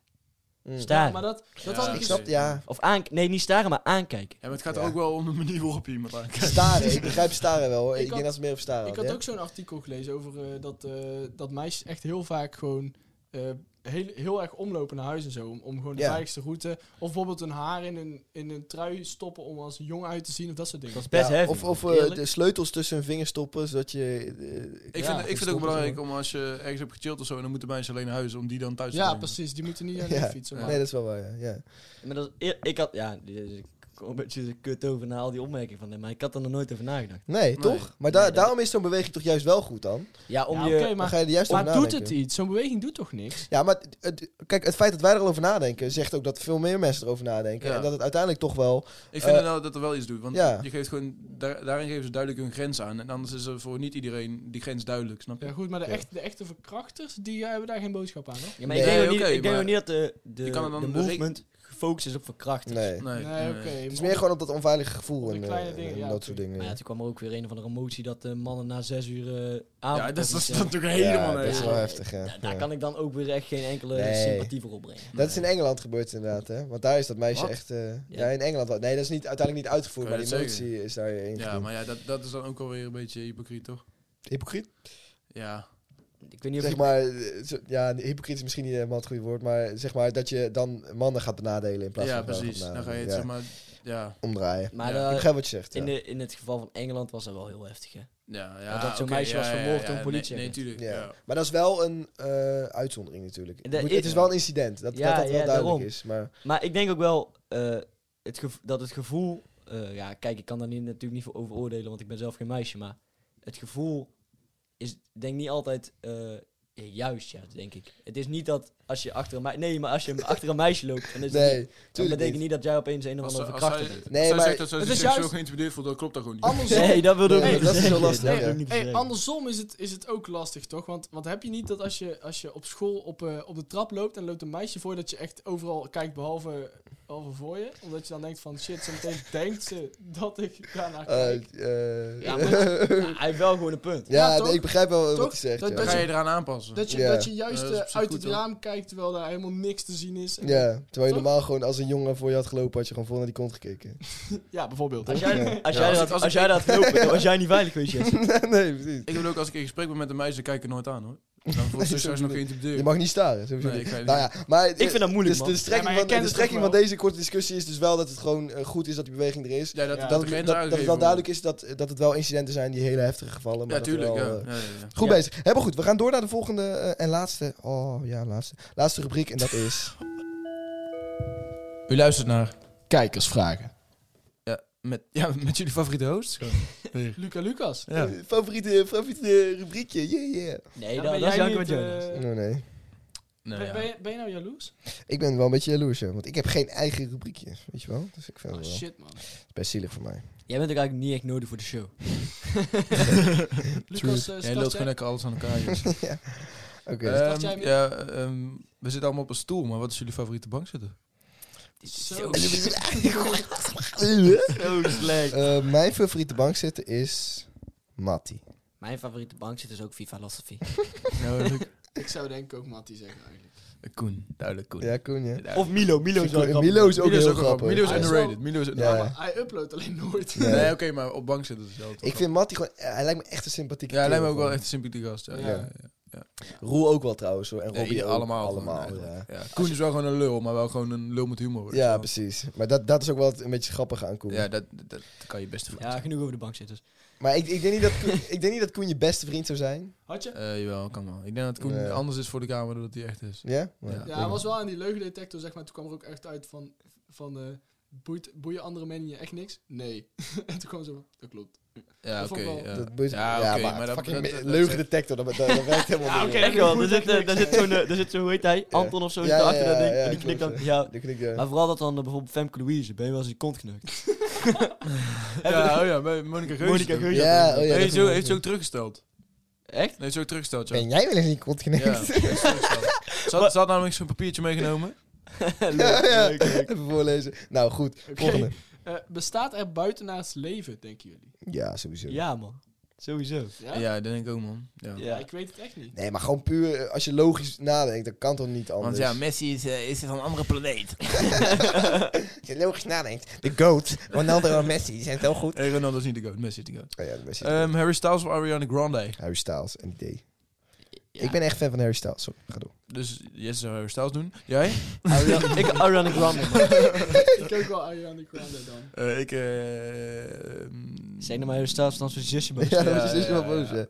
B: Mm.
D: Staren.
E: Ja, maar dat, dat
C: Ja,
E: had ik
B: Ik
E: eens-
B: snap, ja.
D: Of aank nee, niet staren, maar aankijken.
C: Ja, maar het gaat
B: Ja.
C: ook wel om de manier waarop je iemand aankijkt.
B: Staren, ik begrijp staren wel. hoor.
E: Ik
B: Ik denk
E: had-
B: dat het meer over staren
E: Ik
B: had,
E: had
B: hè?
E: ook zo'n artikel gelezen over eh, dat, eh, dat meisjes echt heel vaak gewoon eh, heel, heel erg omlopen naar huis en zo. Om, om gewoon de
B: Ja.
E: veiligste route. Of bijvoorbeeld een haar in een, in een trui stoppen om als een jong uit te zien of dat soort dingen.
D: Dat is best
B: Ja,
D: heavy.
B: Of, of eh,
D: eerlijk.
B: de sleutels tussen hun vingers stoppen, zodat je... eh, ja,
C: Ik vind, ik vind het
B: stoppen,
C: ook belangrijk
B: zeg
C: om als je ergens hebt gechilled of zo... en dan moeten mensen alleen naar huis om die dan thuis te
E: ja,
C: brengen.
E: precies. Die moeten niet
B: maar.
E: aan de
B: Ja.
E: fietsen.
B: Nee,
E: maar-
B: dat is wel waar, ja. ja.
D: Maar dat, eer- ik had, ja, die- ik kom een beetje de kut over na al die opmerkingen van hem, maar ik had er nog nooit over nagedacht.
B: Nee, toch? Maar da-
D: Nee, dat-
B: daarom is zo'n beweging toch juist wel goed dan?
D: Ja, om
E: Ja,
D: je...
E: oké, maar-
B: Dan ga je er juist over
E: Maar doet
B: nadenken.
E: het iets? Zo'n beweging doet toch niks?
B: Ja, maar het- het- kijk, het feit dat wij er al over nadenken, zegt ook dat veel meer mensen erover nadenken.
C: Ja.
B: En dat het uiteindelijk toch wel...
C: Ik vind
B: Eh,
C: nou dat er wel iets doet. Want
B: ja.
C: je geeft gewoon, daar- daarin geven ze duidelijk hun grens aan. En anders is er voor niet iedereen die grens duidelijk, snap je?
E: Ja, goed, maar de,
B: Ja.
E: echte, de echte verkrachters, die hebben daar geen boodschap aan, hoor.
D: Ja, maar
B: Nee,
D: ik denk, ook
C: oké,
D: niet, ik denk
C: maar-
D: ook niet dat de, de,
C: Je kan er dan
D: de
C: de re-
D: movement gefocust is op verkrachting.
B: Nee.
C: Nee,
E: Nee, oké.
C: nee.
B: Het is meer gewoon op dat onveilige gevoel
E: Die
B: en, eh,
E: kleine
B: en
E: dingen, ja,
B: dat soort
E: oké.
B: dingen.
D: Maar ja, toen kwam er ook weer een of andere motie dat de mannen na zes uur eh avond...
C: Ja, dat is, dat is
D: eh,
C: natuurlijk helemaal
B: Ja, dat is
C: nee.
B: wel heftig, ja.
D: da- daar
B: Ja.
D: kan ik dan ook weer echt geen enkele
B: Nee.
D: sympathie voor opbrengen.
B: Dat is in Engeland gebeurd inderdaad, hè? Want daar is dat meisje
C: Wat?
B: echt... eh, ja. in Engeland. wel. Nee, dat is niet, uiteindelijk niet uitgevoerd,
C: Kan
B: maar
C: je
B: die
C: dat zeggen?
B: emotie is daar heen
C: Ja, maar ja, dat, dat is dan ook alweer een beetje hypocriet, toch?
B: Hypocriet?
C: Ja.
D: Ik weet niet of
B: Zeg
D: je-
B: maar, eh, zo- ja, hypocriet is misschien niet helemaal het goede woord, maar zeg maar dat je dan mannen gaat benadelen in plaats
C: ja,
B: van vrouwen
C: precies.
B: gaat
C: Dan ga je het,
B: benadelen.
C: zeg maar... Ja,
B: Ja, omdraaien.
D: Maar
C: Ja.
D: eh,
B: Ik begrijp wat je zegt, ja.
D: in, de, in het geval van Engeland was dat wel heel heftig, hè?
C: ja, ja.
D: Want dat zo'n
C: oké,
D: meisje
C: ja,
D: was
C: ja,
D: vermoord
C: ja,
D: door een
C: nee,
D: politieagent.
C: Nee, natuurlijk.
B: Ja.
C: Ja.
B: Maar dat is wel een eh, uitzondering natuurlijk. Het
D: Dat
B: moet-
D: is-
B: het is wel een incident, dat
D: Ja,
B: dat, dat
D: ja,
B: wel duidelijk
D: daarom.
B: is. Maar
D: Maar ik denk ook wel eh, het gevo- dat het gevoel... eh, ja, kijk, ik kan daar niet, natuurlijk niet voor over oordelen, want ik ben zelf geen meisje. Maar het gevoel is denk niet altijd eh, juist, ja, denk ik. Het is niet dat als je achter een meisje... Nee, maar als je achter een meisje loopt... Dan is het niet-
B: nee,
D: dat
B: tuurlijk
D: betekent
B: niet.
D: niet dat jij opeens een of
C: Als,
D: andere
C: als, als,
D: verkrachter
C: hij-
D: bent.
B: Nee,
C: als hij
B: maar-
C: zegt dat ze
E: Het
C: zich
E: is
C: seksueel
E: juist-
C: geïntimideerd voelt, dan klopt dat gewoon niet.
E: Andersom,
D: Nee, dat wilde
B: Nee,
D: ook niet
B: dat is
D: zeggen.
B: heel lastig,
D: Dat wil
B: ja.
D: ik niet
E: Hey,
D: zeggen.
E: andersom is het, is het ook lastig, toch? Want wat heb je niet dat als je, als je op school op, eh, op de trap loopt en loopt een meisje voor je, dat je echt overal kijkt behalve, behalve voor je? Omdat je dan denkt van shit, zometeen denkt ze dat ik daarnaar kijk.
B: Eh, eh,
D: Ja, maar- Ja, hij heeft wel gewoon een punt.
B: ja,
E: Ja,
B: nee,
E: toch?
B: ik begrijp wel wat
E: Toch?
B: je zegt.
E: Dat-
B: ja.
C: Dan ga je eraan aanpassen.
E: dat, je,
B: Ja.
E: dat je juist
C: Ja, dat is
E: eh,
C: op zich
E: uit
C: goed,
E: het
C: hoor.
E: raam kijkt terwijl daar helemaal niks te zien is. En-
B: Ja, terwijl je
E: Toch?
B: normaal gewoon als een jongen voor je had gelopen, had je gewoon vol naar die kont gekeken.
E: ja, bijvoorbeeld.
D: Als jij, als jij,
C: als
D: dat,
C: ik- als
D: als
C: ik-
D: jij dat lopen, dan was jij niet veilig geweest, Jesse.
B: nee, precies.
C: Ik bedoel ook, als ik in gesprek ben met een meisje, dan kijk ik er nooit aan, hoor. Dan wordt ze
B: Zo
C: straks
B: bedoel
C: nog
B: ik.
C: geïntimideerd.
B: Je mag niet staren. Sowieso
C: Nee,
B: niet.
C: ik ga je
B: nou ja, maar
D: Ik vind dat moeilijk,
B: dus
D: man.
B: de strekking,
E: Ja, maar je
B: van,
E: kent
B: de
E: het
B: strekking
E: toch
B: van
E: wel?
B: deze korte discussie is dus wel dat het gewoon eh, goed is dat die beweging er is.
C: Ja, dat,
E: Ja.
B: dat,
C: de
B: het- dat, dat
C: grenzen
B: het
C: aangegeven
B: wel
C: worden.
B: duidelijk is dat, eh, dat het wel incidenten zijn die hele heftige gevallen. Maar
C: Ja,
B: dat er
C: tuurlijk.
B: wel,
C: Ja.
B: eh,
C: Ja, ja, ja.
B: Goed
D: Ja.
B: bezig. Helemaal goed. We gaan door naar de volgende eh, en laatste. Oh ja, laatste. Laatste rubriek en dat is.
C: U luistert naar.
E: Kijkersvragen.
C: Ja, met, ja, met jullie favoriete host.
E: Luca Lucas.
C: Ja.
B: eh, favoriete, favoriete rubriekje. Yeah, yeah.
D: Nee,
E: Ja,
D: dat,
E: ben
D: dat is
E: jij
D: Janko
E: niet,
D: met Jonas.
E: eh,
B: Oh, nee.
C: Nou,
E: Ben,
C: ja.
E: ben je, ben je nou jaloers?
B: Ik ben wel een beetje jaloers, hè, want ik heb geen eigen rubriekje. Weet je wel? Dus ik vind
E: Oh
B: het wel
E: shit, man.
B: best zielig voor mij.
D: Jij bent ook eigenlijk niet echt nodig voor de show.
E: Lucas, eh,
C: Jij
E: start,
C: loopt
E: jij,
C: gewoon lekker alles aan elkaar. Joh.
B: Oké.
E: Start jij
C: Ehm,
E: mee?
C: ja, ehm, we zitten allemaal op een stoel, maar wat is jullie favoriete bank zitten?
E: Zo. Eh,
D: Zo
E: oh,
D: slecht.
B: Eh, mijn favoriete bank zitten is Matty.
D: Mijn favoriete bank zit dus ook FIFA Philosophy.
C: Nou, leuk.
E: ik zou denk ik ook Mattie zeggen eigenlijk.
C: Koen, duidelijk Koen.
B: Ja, Koen, ja.
C: Duidelijk.
D: Of Milo. Milo is wel
B: Koen-
D: grappig.
B: Milo is ook
C: Milo is
B: heel
C: ook wel-
B: grappig.
C: Milo is
E: Hij is
C: underrated.
E: wel-
C: Milo is underrated.
E: Ja,
B: Ja.
E: maar hij uploadt alleen nooit.
B: Ja.
C: Nee, oké, maar op bank zitten is wel.
B: Ik vind Matty gewoon... eh, Hij lijkt me echt een sympathieke
C: Ja, hij lijkt me ook
B: kerel
C: wel echt
B: gewoon.
C: een sympathieke gast. Ja,
E: Ja.
C: ja. ja, ja.
B: Roel ook wel trouwens, hoor. En
C: Ja,
B: Robbie
C: ieder-
B: ook.
C: allemaal. gewoon,
B: Allemaal,
C: eigenlijk.
B: ja.
C: ja. Koen is wel gewoon een lul, maar wel gewoon een lul met humor. weet je
B: Ja,
C: wel.
B: precies. Maar dat, dat is ook wel het- een beetje grappig aan Koen.
C: Ja, dat, dat kan je best
D: Ja, genoeg over de bank zitten.
B: Maar ik, ik, denk niet dat Koen, ik denk niet dat Koen je beste vriend zou zijn.
E: Had je?
C: Eh, jawel, kan wel. Ik denk dat Koen
B: Nee.
C: anders is voor de kamer dan dat hij echt is.
B: Ja?
C: Ja.
E: Ja, hij was wel aan die leugendetector, zeg maar. Toen kwam er ook echt uit van... van eh, boeit, boeien andere meningen echt niks? Nee. en toen kwam ze van, dat klopt.
C: Ja,
E: Dat
C: oké.
E: vond ik wel-
C: ja.
B: Dat boeit-
C: Ja, oké, maar dat-
B: fucking
C: dat-
B: me-
C: dat-
B: leugendetector, dat, dat, dat werkt helemaal niet.
D: Echt wel, er zit, eh, daar zit zo'n, eh, daar zit zo'n, hoe heet hij?
B: Ja.
D: Anton of zo,
B: Ja,
D: ja, achter
B: ja,
D: dat
B: ja,
D: ding.
B: ja,
D: en die
B: ik
D: knikt
B: wil
D: dan, ja.
B: Dan knik je-
D: Maar vooral dat dan eh, bijvoorbeeld Femke Louise, ben je wel eens in je kont geneukt?
C: Ja, oh ja, bij Monica Geuze.
D: Monica
C: toch?
D: Geuze.
B: Ja, oh ja.
C: Nee,
B: dat-
C: zo, heeft ze ook teruggesteld.
D: Echt?
C: Nee, heeft ze ook teruggesteld, ja.
B: Ben jij wel eens niet kont
C: Ja,
B: geneukt?
C: heeft ze teruggesteld. ze, had, ze had namelijk zo'n papiertje meegenomen.
D: Leuk,
B: Ja, ja.
D: leuk, leuk.
B: Even voorlezen. Nou, goed.
E: Oké.
B: Volgende.
E: Eh, bestaat er buitenaards leven, denken jullie?
B: Ja, sowieso.
D: Ja, man. Sowieso.
E: Ja?
C: Ja, dat denk ik ook, man. Ja.
E: Ja,
D: Ja.
E: ik weet het echt niet.
B: Nee, maar gewoon puur, eh, als je logisch nadenkt, dan kan toch niet
C: Want
B: anders.
C: ja, Messi is, eh, is van een andere planeet.
B: Als je logisch nadenkt, de GOAT, Ronaldo en Messi, die zijn wel goed.
C: Eh, Ronaldo is niet de goat, Messi is de goat.
B: Oh ja, Messi.
C: Ehm, Harry Styles of Ariana Grande.
B: Harry Styles, een idee.
D: Ja.
B: Ik ben echt fan van Harry Styles. Sorry, ga door.
C: Dus Jesse zou Harry Styles doen. Jij?
D: Ariana- ik Ariana Grande, man.
E: ik ook wel Ariana Grande dan.
C: Eh, ik... eh, mm,
D: Zeg nou maar, je staat dan zo'n zusje boos.
B: Ja, dat is dus wel boos,
C: ja.
B: ja.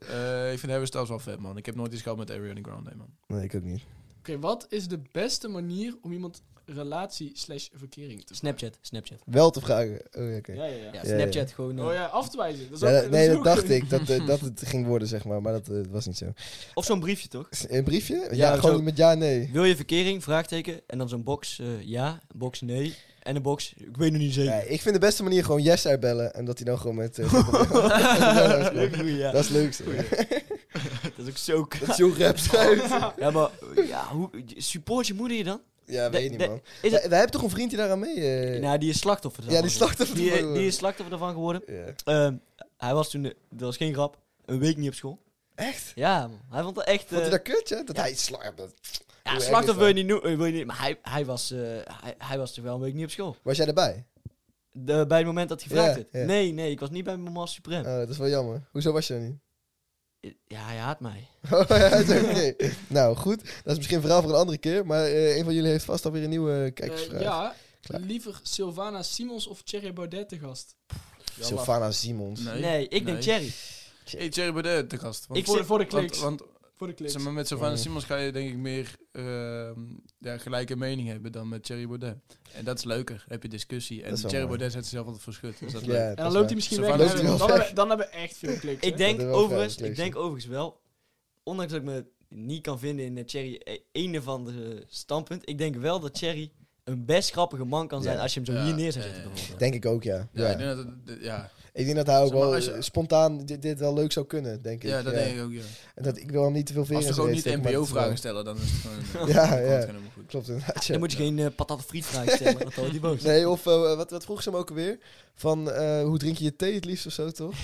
C: Eh, ik vind Harry Styles wel vet, man. Ik heb nooit iets gehad met Ariana Grande, man.
B: Nee, ik ook niet.
E: Oké, wat is de beste manier om iemand relatie slash verkering te
D: Snapchat, Snapchat.
B: Wel te vragen. Oh, ja, oké.
E: Ja, ja, ja.
D: Ja,
B: Ja,
D: Snapchat, gewoon... eh,
E: Oh ja, af te wijzen. Dat is
B: Ja,
E: ook-
B: dat- nee,
E: is
B: dat
E: ook
B: dacht
E: een-
B: ik, dat, eh, dat het ging worden, zeg maar. Maar dat eh, was niet zo.
D: Of zo'n briefje, toch?
B: Een briefje? Ja,
D: Ja,
B: gewoon
D: zo.
B: met ja, nee.
D: Wil je verkering? Vraagteken. En dan zo'n box eh, ja, een box nee. En een box, ik weet nog niet
B: Ja,
D: zeker.
B: ik vind de beste manier gewoon yes uitbellen. En dat hij dan gewoon met... eh, dat is leuk.
D: Goeie, ja.
B: Dat is het leukste.
D: Dat is ook zo k-
B: Dat is zo'n rap
D: Ja, maar ja, hoe, support je moeder je dan?
B: Ja, weet
D: De-
B: ik niet,
D: de-
B: man.
D: is
B: Wij-
D: het-
B: wij hebben toch een vriend die daaraan mee... eh,
D: nou, die is slachtoffer.
B: ja, die
D: daarvan geworden.
B: slachtoffer
D: Die,
B: ervan
D: die is slachtoffer daarvan geworden.
B: ja.
D: Ehm, hij was toen, eh, dat was geen grap, een week niet op school.
B: Echt?
D: Ja, man. hij vond het echt...
B: Vond
D: eh,
B: hij dat kut, ja? Dat hij slaat. dat-
D: ja,
B: hoe erg
D: slachtoffer wil
B: is
D: je, niet, noe- eh, wil je niet... Maar hij, hij, was, eh, hij, hij was toch wel een week niet op school.
B: Was jij erbij?
D: De- bij het moment dat hij gevraagd
B: Ja,
D: werd.
B: ja.
D: Nee, nee, ik was niet bij Mama Supreme.
B: Oh, dat is wel jammer. Hoezo was je er niet?
D: Ja, hij haat mij.
B: Oh, ja, dat is oké. nou, goed. Dat is misschien een verhaal voor een andere keer. Maar eh, een van jullie heeft vast alweer een nieuwe
E: Eh,
B: kijkersvraag.
E: ja,
B: Klaar.
E: liever Sylvana Simons of Thierry Baudet te gast.
B: Sylvana Simons.
D: Nee, ik denk Cherry.
C: Hey, Thierry Baudet, de gast. Want,
D: Ik
E: Voor,
D: zit-
E: voor de
C: want,
E: kliks.
C: want
E: voor de kliks.
C: zeg maar, met Sylvana
B: Mm.
C: Simons ga je denk ik meer ehm, ja, gelijke mening hebben dan met Thierry Baudet. En dat is leuker, heb je discussie. En
B: Dat is wel
C: Thierry
B: mooi.
C: Baudet zet zichzelf altijd voor schut. Dus dat is
B: Ja,
C: leuk.
B: dat
E: en dan
B: is
E: loopt hij
B: waar.
E: misschien weg.
C: Sylvana
E: Dan,
B: loopt hij wel
E: dan
B: weg.
E: hebben, dan hebben we echt veel kliks. hè?
D: Ik denk,
B: Dat is wel
D: overigens,
B: vrij
D: ik denk overigens wel, ondanks dat ik me niet kan vinden in eh, Thierry eh, een of andere standpunt, ik denk wel dat Thierry een best grappige man kan zijn
B: Ja.
D: als je hem zo
C: Ja,
D: hier neer zou zetten.
C: eh,
D: bijvoorbeeld.
B: Denk ik ook, ja.
C: Ja,
B: ja.
C: ik denk dat het- d- ja.
B: Ik denk dat hij ook
C: Zeg maar,
B: wel
C: als je-
B: eh, spontaan dit, dit wel leuk zou kunnen, denk ik.
C: ja, dat
B: ja.
C: denk ik ook, ja.
B: En dat, ik wil hem niet te veel veren.
C: Als ze
B: in
C: gewoon
B: zijn
C: niet
B: reet steken, maar dat is wel-
C: NPO-vragen stellen, dan is het gewoon...
B: Ja,
C: dan komt het
B: ja.
C: gewoon helemaal goed.
B: Klopt, inderdaad. ja.
D: Dan moet je geen eh patat friet vragen stellen, want dan wordt hij boos.
B: Nee, of eh, wat, wat vroeg ze hem ook alweer? Van eh, hoe drink je je thee het liefst of zo, toch?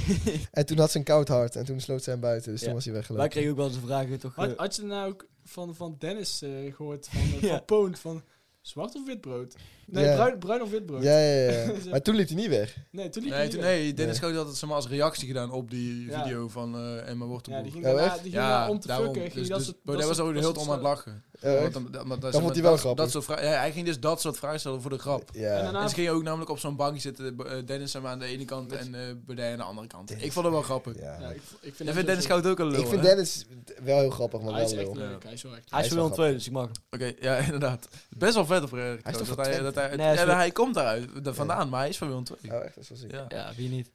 B: en toen had ze een koud hart en toen sloot ze hem buiten, dus
D: Ja.
B: toen was hij
D: Wij
B: weggelopen.
D: kregen ook wel eens de vragen, toch? eh,
E: Had, had je nou ook van, van Dennis eh, gehoord, van, eh,
D: Ja.
E: van Poont, van zwart of wit brood? Nee,
B: Ja.
E: bruin, bruin of wit brood?
B: Ja, ja, ja. maar toen liep hij niet weg.
E: Nee, toen liep hij
C: Nee,
E: niet
C: toen,
E: weg.
C: nee Dennis
B: Nee.
C: Schoot had het zeg maar, als reactie gedaan op die
E: Ja.
C: video van eh Emma Wortelboer.
E: Ja, die ging
B: Ja,
E: daarna,
B: echt?
E: die ging
C: Ja,
E: daarna om te
C: daarom.
E: fucken. ging
C: Dus-
E: dat
C: dus
E: soort-
C: Baudet
E: dat
C: was ook
E: soort-
C: heel
E: dat
C: om aan
E: soort
C: het lachen.
B: Eh,
C: Want Oh, dan- dan- want dan-
B: vond
C: maar
B: hij wel
C: dat-
B: grappig.
C: Dat soort vragen, ja, hij ging dus dat soort vragen stellen voor de grap.
E: En daarna-
B: ja.
C: En ze gingen ook namelijk op zo'n bankje zitten. eh, Dennis zeg maar, aan de ene kant en eh Baudet aan de andere kant. Ik vond het wel grappig.
B: ja.
E: Ja, ik, ik vind
C: Jij
E: dat
C: vindt Dennis
E: zo-
C: Schout ook een lul,
B: Ik vind
C: hè?
B: Dennis wel heel grappig, maar
E: Hij
B: wel
E: is echt
B: lul.
E: leuk, hij is wel echt
D: hij is
B: Hij is
D: wel
B: wel
D: tweede, dus ik mag hem.
C: Oké, ja, inderdaad. Best wel vet op eh, trouwens,
B: toch
C: dat
B: van
C: hij, dat hij,
D: Nee, hij is
C: ja,
D: van-
C: hij komt daaruit da- vandaan, maar hij is van Willem II.
B: Oh, echt? Dat is wel ziek.
C: Ja.
D: Ja, wie niet?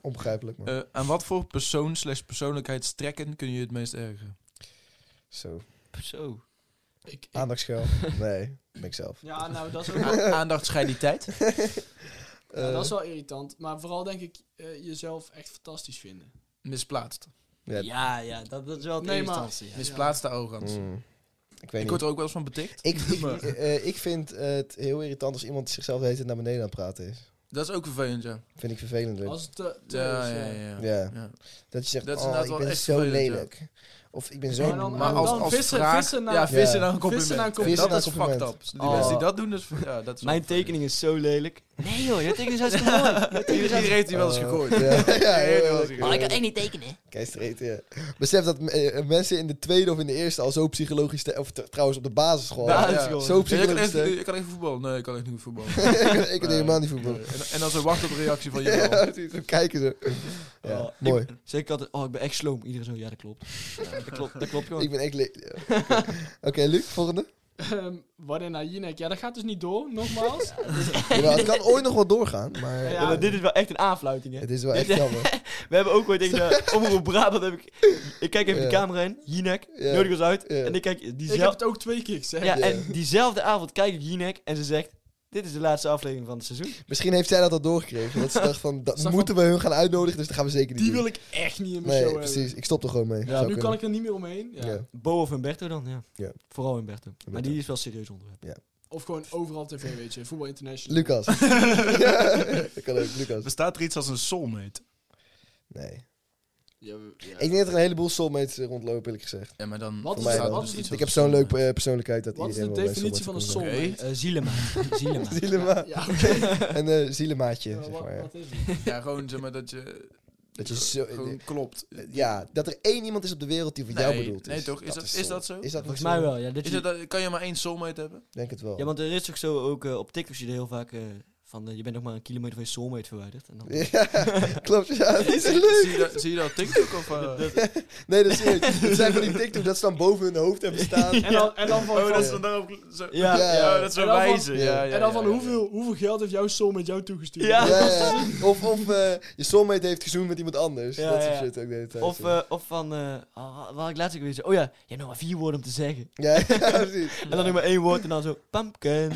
B: Onbegrijpelijk, man.
C: Eh, aan wat voor persoon slash persoonlijkheidstrekken kun je het meest ergeren?
B: Zo.
D: Zo.
B: Ah.
E: Ik, ik-
B: Aandachtsschel. nee, ben ik zelf.
E: ja, nou, dat is, ook,
C: A- Aandachtsscheiditeit?
B: Eh.
E: ja, dat is wel irritant. Maar vooral denk ik eh, jezelf echt fantastisch vinden.
C: Misplaatst.
B: Ja.
D: Ja, ja, dat, dat is wel het
E: Nee, maar-
D: instantie. Ja.
C: Misplaatste arrogantie.
B: Mm. Ik weet
C: Ik
B: niet.
C: word er ook wel eens van betikt.
B: Ik, ik,
C: Maar-
B: eh, eh, ik vind eh, het heel irritant als iemand zichzelf de hele tijd naar beneden aan het praten is.
C: Dat is ook vervelend, ja.
B: Vind ik vervelend. Luc.
E: Als het eh, te
C: Ja,
E: is,
C: ja, ja. ja.
B: Ja.
C: Ja.
B: Dat je zegt,
C: Dat is
B: oh,
C: inderdaad
B: ik
C: wel
B: ben
C: echt
B: zo
C: vervelend, ja.
B: lelijk. Of ik ben zo...
E: Maar dan-
C: Maar als,
E: dan
C: als
E: vissen-
C: vraag...
E: vissen naar-
C: ja, vissen
B: Ja.
C: naar een compliment.
E: Vissen naar een compliment.
C: dat is
B: Vissen naar een
C: fucked up. Die
D: Oh.
C: mensen die dat doen, dus, ja, dat is
D: Mijn
C: ook vervelend.
D: tekening is zo lelijk. Nee joh, jouw tekening is hartstikke mooi. Jouw tekening is
C: Iedereen
D: hartstikke-
C: heeft die wel eens
B: Oh,
C: gegooid.
B: Ja, ja,
C: Iedereen heeft die
B: ja,
C: wel eens
B: ja.
C: gegooid.
B: echt niet tekenen. Kijk, street, ja. Besef dat eh, mensen in de tweede of in de eerste al zo psychologisch... sterk- Of t- trouwens op de basisschool.
C: Ja,
D: Ja,
C: ja.
D: joh.
B: Zo
C: Ja, ik, kan
B: psychologisch
C: echt,
B: sterk.
C: ik kan echt voetballen. Nee, ik kan echt niet goed voetballen.
B: ik ik kan helemaal niet voetballen.
C: Nee. En, en dan zo wachten op de reactie van je
B: Ja,
C: bal.
B: precies. Zo kijken ze. Ja,
D: Oh, ik-
B: mooi.
D: Zeg ik altijd, oh ik ben echt sloom. Iedereen zo, ja dat klopt. dat klopt, dat klopt gewoon.
B: Ik ben echt... le- ja, Oké, Oké, Luc, volgende.
E: Ehm, Wanneer naar Jinek? Ja, dat gaat dus niet door, nogmaals.
B: Jawel, het kan ooit nog wel doorgaan, maar
D: Ja, maar dit is wel echt een aanfluiting hè.
B: het is wel echt jammer.
D: We hebben ook ooit denk ik, naar Omroep Brabant heb ik... Ik kijk even
B: Ja.
D: de camera in, Jinek,
B: Ja.
D: nodig ons uit.
B: Ja.
D: En ik kijk
E: ik heb
D: diezelfde...
E: het ook twee keer gezegd.
D: Ja,
B: Ja.
D: en diezelfde avond kijk ik Jinek en ze zegt... Dit is de laatste aflevering van het seizoen.
B: Misschien heeft zij dat al doorgekregen. Dat ze dacht van, dat
E: Ze dacht
B: moeten we hun gaan uitnodigen, dus dat gaan we zeker niet
E: Die
B: doen.
E: wil ik echt niet in mijn
B: Nee,
E: show hebben.
B: precies. Ik stop er gewoon mee.
D: Ja,
B: Zou
E: Nu kan
B: kunnen.
E: ik er niet meer omheen. Ja.
B: Ja.
D: Bo of Humberto dan, ja.
B: Ja.
D: Vooral Humberto. Maar
B: Humberto.
D: die is wel serieus onderwerp.
E: Of gewoon overal tv, weet je. Voetbal International.
B: Lucas. ja, dat kan ook, Lucas.
C: Bestaat er iets als een soulmate?
B: Nee.
E: Ja, we- ja.
B: Ik denk dat er een heleboel soulmates eh, rondlopen, eerlijk gezegd.
C: Ja, maar dan...
E: Wat
B: is-
C: bestaat er
B: wat
C: dus
E: is
C: iets
E: het-
B: Ik heb
C: als
B: zo'n
C: een
B: leuke eh, persoonlijkheid dat
E: Wat is de
B: iedereen wel bij
E: definitie van een
B: soulmate
C: soulmate.
E: soulmate?
D: Eh zielemaat.
B: kan
D: zielemaat.
B: zijn. Zielema.
E: Ja, oké.
B: Een eh, zielemaatje,
E: Eh,
B: zeg
E: wat-
B: maar. Ja.
E: Wat is het?
C: soulmate? Ja, gewoon zeg maar dat je...
B: Dat je zo...
C: Gewoon klopt.
B: Ja, dat er één iemand is op de wereld die voor jou
C: Nee,
B: bedoeld is.
C: nee, toch? Is dat- is
B: soul.
C: dat zo?
B: Is dat
D: Volgens
B: nog
D: mij
B: soul?
D: wel, ja. Dat
C: Is
D: je-
C: het, dat- kan je maar één soulmate hebben?
B: Denk het wel.
D: Ja, want er is ook zo, ook eh, op TikTok zie je er heel vaak eh, van, eh, je bent nog maar een kilometer van je soulmate verwijderd. En dan,
B: Ja, klopt. Ja, dat is leuk.
C: Zie je dat, zie je dat op TikTok? Of, eh?
B: Nee, dat is serieus. Dat zijn van die TikTok dat ze dan boven hun hoofd hebben staan.
E: En dan, en dan van,
C: Oh, dat is
B: Ja.
C: dan daarop... Zo,
D: Ja,
B: Ja.
C: Ja, dat is
E: En
C: wel
E: dan van-
C: wijze. Ja, ja,
E: en dan van
C: ja, ja.
E: hoeveel, hoeveel geld heeft jouw soulmate jou toegestuurd?
D: Ja.
B: Ja, ja. Of, of eh, je soulmate heeft gezoend met iemand anders.
D: Ja,
B: dat soort
D: ja.
B: shit ook de hele tijd.
D: of, eh, of van, eh ah, waar ik laatst ook weer zei, oh ja, je hebt nog maar vier woorden om te zeggen.
B: ja, ja, precies.
D: En dan nog maar één woord en dan zo, pumpkin.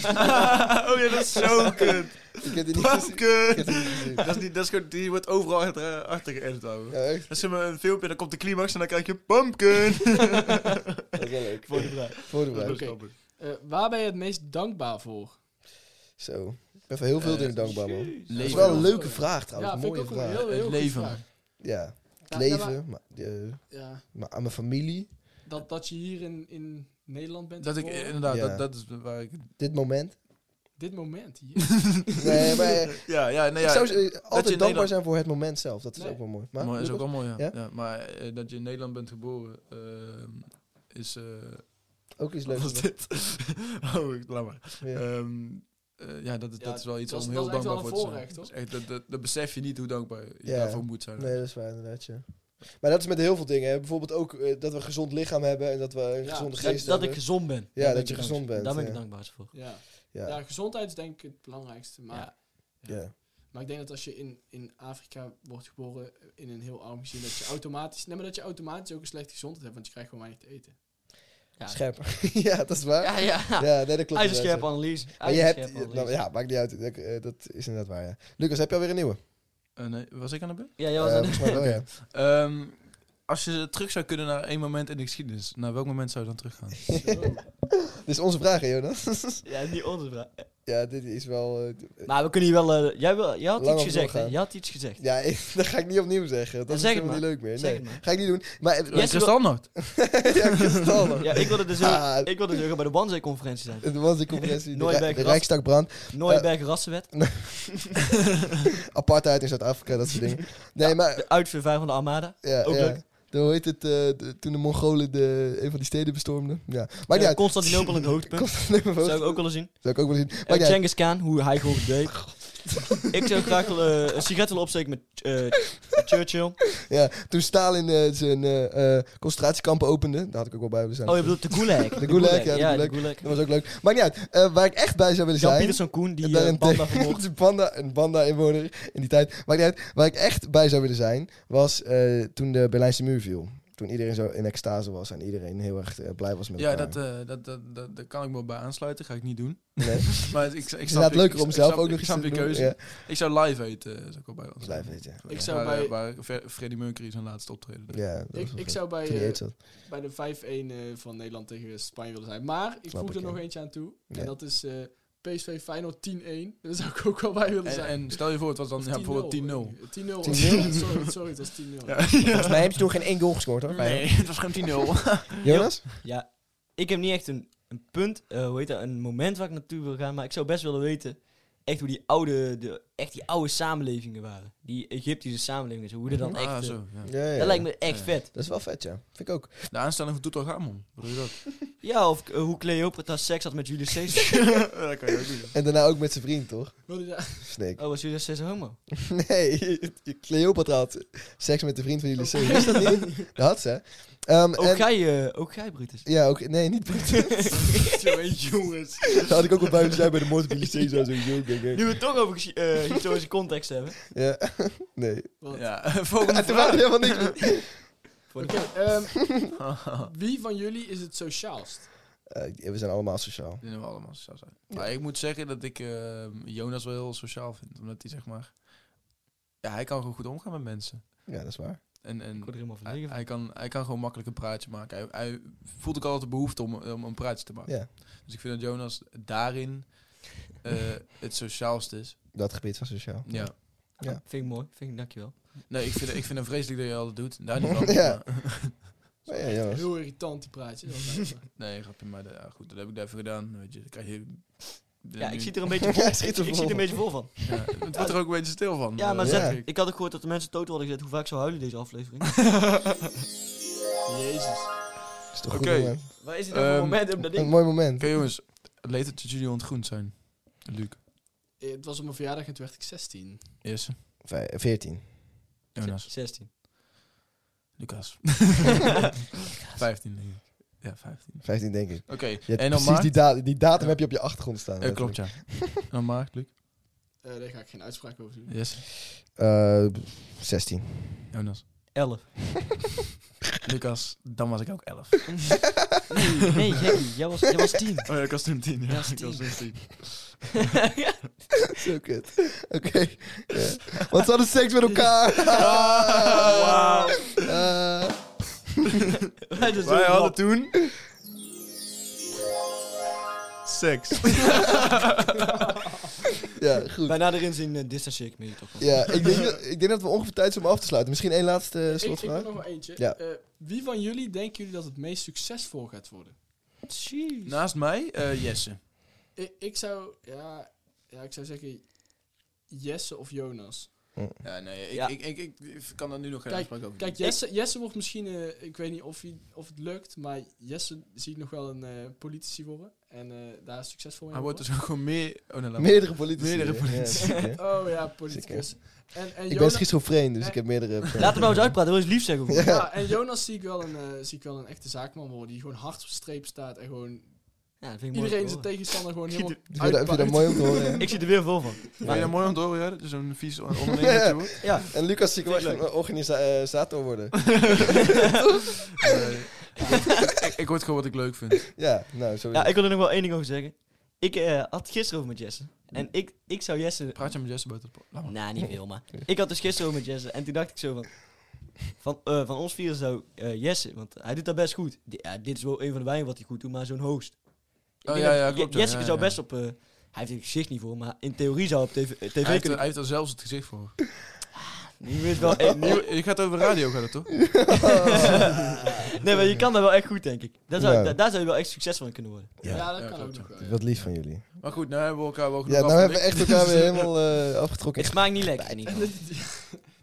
C: oh ja, dat is zo kut.
B: Ik heb die niet gezien. Ik heb
C: Pumpkin.
B: die niet gezien.
C: Dat is niet, dat is gewoon, die wordt overal achter, eh, achter geëdit, ouwe.
B: Ja, echt.
C: Dan zien we een filmpje, dan komt de climax en dan krijg je pumpkin.
B: Dat is wel leuk.
D: Voor de vraag.
B: Voorbereid.
E: Oké. Eh, waar ben je het meest dankbaar voor?
B: Zo. Ik ben voor heel veel dingen dankbaar, man.
D: Jezus.
B: Dat is
C: Eh, Leven.
B: wel een leuke vraag, trouwens.
E: ja,
B: een
E: vind ik
B: mooie
E: ook een
B: vraag.
E: heel, heel
C: Het
E: goed
C: leven.
E: vraag.
B: Ja. Het
E: Ja,
B: leven,
E: ja,
B: maar, eh,
E: maar- ja,
B: maar aan mijn familie.
E: dat, dat je hier in, in Nederland bent.
C: Dat ik,
E: geboren.
C: inderdaad,
B: Ja.
C: dat, dat is waar ik...
B: Dit moment.
E: Dit moment hier.
B: Nee, maar eh,
C: Ja, ja, nee,
B: ik
C: ja.
B: zou eh, altijd dankbaar
C: Nederland-
B: zijn voor het moment zelf. Dat is
E: Nee.
B: ook wel mooi.
C: Maar,
B: Maar,
C: is ook wel mooi, ja.
B: Ja?
C: Ja, maar eh, dat je in Nederland bent geboren, eh, is... eh
B: ook iets
C: wat
B: leuks.
C: was dit? oh, ik- laat maar.
B: Ja.
C: Ehm, eh, ja, dat, is-
E: Ja,
C: dat is wel iets
E: dat is-
C: om
E: dat
C: heel
E: is echt
C: dankbaar
E: wel een
C: voor te zijn.
E: voorrecht,
C: Dat,
E: hoor.
C: is echt- dat, dat, dat besef je niet hoe dankbaar je
B: Ja.
C: daarvoor moet zijn.
B: Nee, dat is waar inderdaad, ja. Maar dat is met heel veel dingen. Hè. Bijvoorbeeld ook eh, dat we een gezond lichaam hebben en dat we een
E: Ja,
B: gezonde
D: Dat,
B: geest
D: dat ik
B: hebben.
D: gezond ben.
B: Ja, dat
D: Daar ben
B: je
D: ik dankbaar-
B: gezond bent,
D: Daar ben ik
B: ja.
D: het dankbaarst voor.
E: Ja.
B: ja.
E: Ja.
B: Ja.
E: gezondheid is denk ik het belangrijkste. Maar,
D: Ja.
E: maar ik denk dat als je in, in Afrika wordt geboren, in een heel arm gezin, dat je automatisch, nee, maar dat je automatisch ook een slechte gezondheid hebt, want je krijgt gewoon weinig te eten.
D: Ja.
B: Scherp. ja, dat is waar.
D: Ja,
B: Ja, nee,
D: ja.
B: dat klopt. inderdaad,
D: IJzerscherp
B: ja.
D: analyse.
B: Maar je hebt...
D: IJzerscherp analyse.
B: nou, ja, maakt niet uit. Dat, eh, dat is inderdaad waar, ja. Lucas, heb je alweer een nieuwe?
C: Eh, nee, was ik aan de beurt?
D: Ja, jij
B: Eh,
D: was aan
B: volgens mij wel, ja.
C: Ehm, als je terug zou kunnen naar één moment in de geschiedenis, naar welk moment zou je dan teruggaan?
B: Dit is onze vraag, hè, Jonas?
D: Ja, niet onze vraag.
B: ja, dit is wel... eh, d-
D: Maar we kunnen hier wel... eh, jij, wil, jij had
B: Lang
D: iets
B: op
D: gezegd, hè?
B: doorgaan.
D: Je had iets gezegd.
B: ja, ik- dat ga ik niet opnieuw zeggen.
D: Ja,
B: Dat is
D: zeg het
B: helemaal niet leuk
D: maar.
B: meer.
D: Zeg
B: Nee,
D: het maar.
B: ga ik niet doen. Maar... eh,
C: Ja,
D: Jesse,
C: Kristallnacht.
B: ja, kristallen.
D: Ja, ik wilde dus heel,
B: Ah.
D: ik wilde dus heel graag bij de Wanzee-conferentie zijn.
B: Het was een compressie. De,
D: Nooit bij
B: Rij- de
D: gerast.
B: Rijksdagbrand.
D: Nooienberg rassenwet.
B: Apartheid in Zuid-Afrika, dat soort dingen. Nee, maar
D: De uitvervaar van de Armada.
B: Ja,
D: Ook
B: ja.
D: leuk.
B: De- hoe heet het, eh, de- toen de Mongolen de, een van die steden bestormden? Ja. Maakt niet
D: Eh,
B: uit.
D: Constantinopel in het hoogtepunt.
B: Constantinopel.
D: Zou ik ook willen zien.
B: Zou ik ook wel zien. Maakt
D: Eh,
B: niet uit.
D: Genghis Khan, hoe hij gewoon deed. ik zou graag wel, eh, een sigaret willen opsteken met eh, Churchill. Oh,
B: Ja, toen Stalin eh, zijn eh, eh, concentratiekampen opende, daar had ik ook wel bij willen zijn.
D: Oh, je bedoelt de Gulag. De
B: Gulag, ja, de
D: de
B: Gulag.
D: Gulag.
B: Dat was ook leuk. Maakt niet uit. Eh, waar ik echt bij zou willen
D: Jan
B: zijn...
D: Pieterszoon Koen, die eh, Banda vermoord.
B: Daarentegen, Banda, een Banda-inwoner in die tijd. Maakt niet uit. Waar ik echt bij zou willen zijn, was eh, toen de Berlijnse muur viel. Toen iedereen zo in extase was en iedereen heel erg eh, blij was met
C: Ja,
B: elkaar.
C: dat, eh, dat, dat, dat, daar kan ik me bij aansluiten. Ga ik niet doen.
B: Nee.
C: Maar ik,
B: Het
C: ik
B: is
C: snap
B: inderdaad
C: je-
B: leuker
C: ik-
B: om
C: ik
B: zelf
C: snap-
B: ook nog
C: Ik
B: iets te
C: snap je
B: doen.
C: keuze.
B: Ja,
C: Ik zou live eten, eh, zou ik wel bij ons
B: blijf weten.
E: Ik zou
C: waar,
E: bij-
C: waar Ver- Freddie Mercury zijn laatste optreden. deed.
B: Ja, dat was
E: Ik,
B: wel
E: ik
B: goed.
E: zou bij,
B: Toen die
E: eh,
B: eet zat.
E: bij de 5-1 eh, van Nederland tegen Spanje willen zijn. Maar ik
B: Snap
E: voeg
B: ik,
E: er
B: ja.
E: nog eentje aan toe.
B: Ja.
E: En dat is eh, PSV Feyenoord 10-1. Daar zou ik ook wel bij willen
C: En,
E: zijn.
C: en stel je voor, het was dan ja, bijvoorbeeld 10-0.
E: 10-0. 10-0. was-
B: 10-0.
E: Sorry, sorry, het was 10-0.
B: Volgens mij hebben ze toen geen één goal gescoord hoor.
C: Nee, het was gewoon 10-0.
B: Jonas?
D: Ja, ik heb niet echt een, een punt, eh, hoe heet dat, een moment waar ik naartoe wil gaan, maar ik zou best willen weten echt hoe die oude, de, echt die oude samenlevingen waren. Die Egyptische samenlevingen, zo, hoe dat dan echt...
C: Ah,
D: eh,
C: zo, ja.
B: Mhm. Ja, ja.
D: Dat lijkt me echt
C: Ja.
D: vet.
B: Dat is wel vet, ja. Vind ik ook.
C: De aanstelling van Toetelgamon. Wat doe je dat?
D: Ja, of eh, hoe Cleopatra seks had met Julius Caesar.
C: dat kan je ook doen.
B: En daarna ook met zijn vriend, toch?
E: Wilde je-
B: Snake.
D: oh, was Julius Caesar homo?
B: Nee, je- je- Cleopatra had seks met de vriend van jullie. Wist je dat niet? Dat had ze. Ehm,
D: Ook
B: en-
D: jij, eh, ook jij, Brutus.
B: Ja, ook, nee, niet
D: jongens.
B: Dat had ik ook wel bij zijn bij de moord op Jullie zo. joh, gek, gek.
D: Nu we het toch over ges- eh, historische context hebben.
B: Ja, nee.
C: Ja, volgende
B: En toen waren
C: vraag.
B: er helemaal niks meer.
E: Oké, ehm, wie van jullie is het sociaalst?
B: Eh, we zijn allemaal sociaal.
C: Die noemen we allemaal sociaal zijn. Maar ik moet zeggen dat ik eh, Jonas wel heel sociaal vind. Omdat hij zeg maar... Ja, hij kan gewoon goed omgaan met mensen.
B: Ja, dat is waar.
C: En,
D: Ik
C: en
D: word er helemaal van
C: hij,
D: liggen.
C: hij kan, hij kan gewoon makkelijk een praatje maken. Hij, hij voelt ook altijd de behoefte om, om een praatje te maken.
B: Ja.
C: Dus ik vind dat Jonas daarin eh, het sociaalst is.
B: Dat gebied van sociaal.
C: Ja.
B: Ja.
D: Vind ik mooi, vind ik, dankjewel.
C: Nee, ik vind, ik vind het vreselijk dat je altijd doet. Daar niet van.
B: Ja.
C: maar-
B: Maar ja, Jonas.
E: Heel irritant die praatjes. dat lijkt me.
C: Nee, grapje, maar dat- ja, goed, dat heb ik daar even gedaan. Weet je, dan krijg je...
D: Ja, ik
C: nu-
D: zit er een beetje
B: Hij
D: vol, ik,
B: schiet er vol
D: ik zit er een
B: van.
D: beetje vol van.
C: Ja, het wordt er ook een beetje stil van.
D: Ja, maar
C: Eh,
D: zet,
C: ik.
D: ik had ook gehoord dat de mensen dood worden gezet hoe vaak zou huilen deze aflevering. Jezus.
B: Dat is toch
C: Oké.
B: goed, jongen.
D: Waar is het
C: nou voor
D: nou
C: Ehm,
D: moment om dat
B: Een
D: ding?
B: mooi moment.
C: Oké jongens, leed het dat jullie ontgroend zijn. Luc,
E: Eh, Het was op mijn verjaardag en toen werd ik 16.
C: eerst.
B: Vij- 14.
C: Jonas,
D: 16.
C: Lucas. 15 denk ik. Ja, 15.
B: 15 denk ik.
C: Oké,
B: Je hebt
C: en dan
B: precies
C: Mark?
B: die, da- die datum heb je op je achtergrond staan.
C: Eh, klopt ja. En dan Mark, Luc.
E: Eh, daar ga ik geen uitspraak over doen.
C: Yes.
B: letterlijk. Eh, 16.
C: Jonas.
D: 11.
C: Lucas, dan was ik ook 11.
D: Nee, nee, gekkie, jij was, jij was 10.
C: Oh ja, ik was toen 10. Ja,
D: was
C: ik was toen 10.
B: Zo kut. Oké. Ah. Ja. Want ze hadden seks met elkaar.
C: Ah!
D: Wauw.
B: Eh,
D: Wij doen zo
C: Wij hadden
D: rap.
C: toen... Seks.
B: ja, goed.
D: Bijna erin zien, eh, distancieer ik me hier toch wel.
B: Ja, ik denk, dat, ik denk dat we ongeveer tijd zijn om af te sluiten. Misschien één laatste eh,
E: Ik, ik heb
B: slotvraag.
E: nog maar eentje.
B: Ja.
E: Eh, wie van jullie denken jullie dat het meest succesvol gaat worden?
D: Jeez.
C: Naast mij, eh, Jesse.
E: Ik, ik zou, ja, ja, ik zou zeggen Jesse of Jonas.
C: Ja, nee, ik,
D: Ja.
C: Ik, ik, ik, ik kan daar nu nog geen
E: Kijk,
B: Hmm.
C: uitspraak over
E: Kijk, Jesse, Jesse wordt misschien, eh, ik weet niet of, hij, of het lukt, maar Jesse zie ik nog wel een eh, politici worden. En eh, daar is succesvol
C: doen. Hij
E: in
C: wordt
E: worden.
C: dus ook gewoon meer... Oh, nee, laat maar.
B: Meerdere politici.
C: Meerdere
B: Ja,
C: politici.
B: ja, ja.
E: Oh ja, politicus. En, en
B: Ik ben
E: Jonas-
B: schizofreen, dus ik heb meerdere...
D: Laat hem nou eens uitpraten, wil je eens lief zeggen? of niet?
E: Ja, en Jonas zie ik, wel een, eh, zie ik wel een echte zaakman worden. Die gewoon hard op streep staat en gewoon
D: Ja, dat vind ik mooi
E: iedereen
D: om te
E: zijn tegenstander gewoon helemaal
B: Vind je dat- Vind je dat
E: uitbuit.
B: mooi om te horen?
D: horen.
B: ja?
D: Ik zit er weer vol van.
C: Vind je dat mooi om te horen, ja? Dat je zo'n vies ondernemer wordt?
D: Ja,
B: En Lucas zie ik wel echt een organisator worden.
C: Nee. eh, ik, ik, ik word gewoon wat ik leuk vind.
B: Ja, nou, zo is
D: ja
B: het.
D: ik wil er nog wel één ding over zeggen. Ik eh, had gisteren over met Jesse. En ik, ik zou Jesse
C: Praat je met Jesse buiten het po- Laat
D: Nou,
C: maar.
D: niet veel, maar... Ik had dus gisteren ook met Jesse en toen dacht ik zo van... Van, eh, van ons vier zou eh, Jesse, want hij doet dat best goed. Di- ja, dit is wel een van de weinigen wat hij goed doet, maar zo'n host. Ik
C: Oh,
D: denk
C: ja,
D: dat
C: ja,
D: Je-
C: klopt, ja,
D: Jesse
C: ja,
D: zou
C: ja.
D: best op... eh, hij heeft het gezicht niet voor, maar in theorie zou op tv, eh, tv
C: Hij heeft, er-
D: kunnen...
C: hij heeft er zelfs het gezicht voor.
D: Je weet wel, eh,
C: Nieuw, je gaat over radio, gaat het toch?
D: nee, maar je kan dat wel echt goed, denk ik. Daar zou,
B: Ja.
D: da- daar zou je wel echt succesvol in kunnen worden.
E: Ja,
B: Ja,
E: dat
C: ja,
E: kan
C: klopt,
E: ook nog wel. ja.
B: Wat lief van jullie.
C: Maar goed, nou hebben we elkaar wel genoeg
B: Ja, nou hebben we echt
C: afgelicht.
B: elkaar weer helemaal eh, afgetrokken.
D: Het smaakt niet lekker. in ieder geval.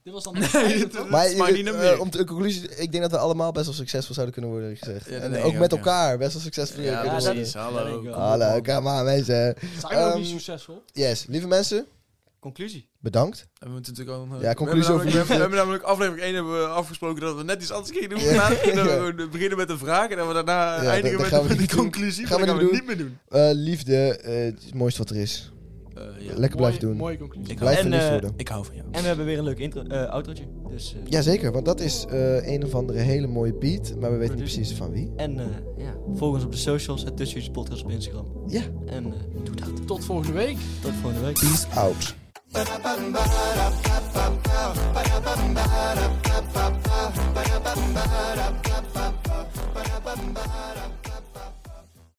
E: Dit was dan de vijfde, toch?
B: Maar
C: Het smaakt niet naar
B: eh,
C: meer.
B: om te conclusie, ik denk dat we allemaal best wel succesvol zouden kunnen worden gezegd.
C: Ja, dat
B: en
C: denk
B: ook
C: ik
B: met
C: ook, ja.
B: elkaar best wel succesvol
C: Ja,
B: kunnen
D: dat
B: worden.
C: precies.
D: is- dat denk ik
C: Hallo.
D: wel.
B: Hallo, kom maar mensen.
E: Zijn we nog
B: Ehm,
E: niet succesvol?
B: Yes, lieve mensen,
D: Conclusie.
B: bedankt.
C: We moeten natuurlijk al
B: Ja, conclusie
C: we hebben,
B: over
C: namelijk, we, hebben,
B: liefde.
C: we hebben namelijk aflevering 1 hebben we afgesproken dat we net iets anders gingen doen.
B: Ja.
C: Maar dat
B: Ja.
C: we gewoon beginnen met een vraag en dat we daarna
B: Ja, dat-
C: eindigen
B: dat
C: met,
B: gaan we
C: met
B: niet
C: de
B: doen.
C: conclusie.
B: Gaan
C: maar
B: we
C: dat
B: niet
C: gaan we niet meer
B: Eh, liefde, eh, het is het mooiste wat er is.
C: doen. Eh, ja.
B: Lekker blijven
E: Mooie-
B: doen.
E: Mooie conclusie.
C: Ik hou,
B: Blijf
D: En,
B: verliefd
D: eh,
B: worden.
C: ik hou van jou.
D: En we hebben weer een leuk intro, eh, outrootje. Dus, eh,
B: Jazeker, want dat is eh, een of andere hele mooie beat, maar we weten niet precies van wie.
D: En eh, ja, volg ons op de socials, het Tussen Jullie Podcast op Instagram.
B: Ja,
D: En eh, doe dat.
E: Tot volgende week.
D: Tot volgende week.
B: peace out.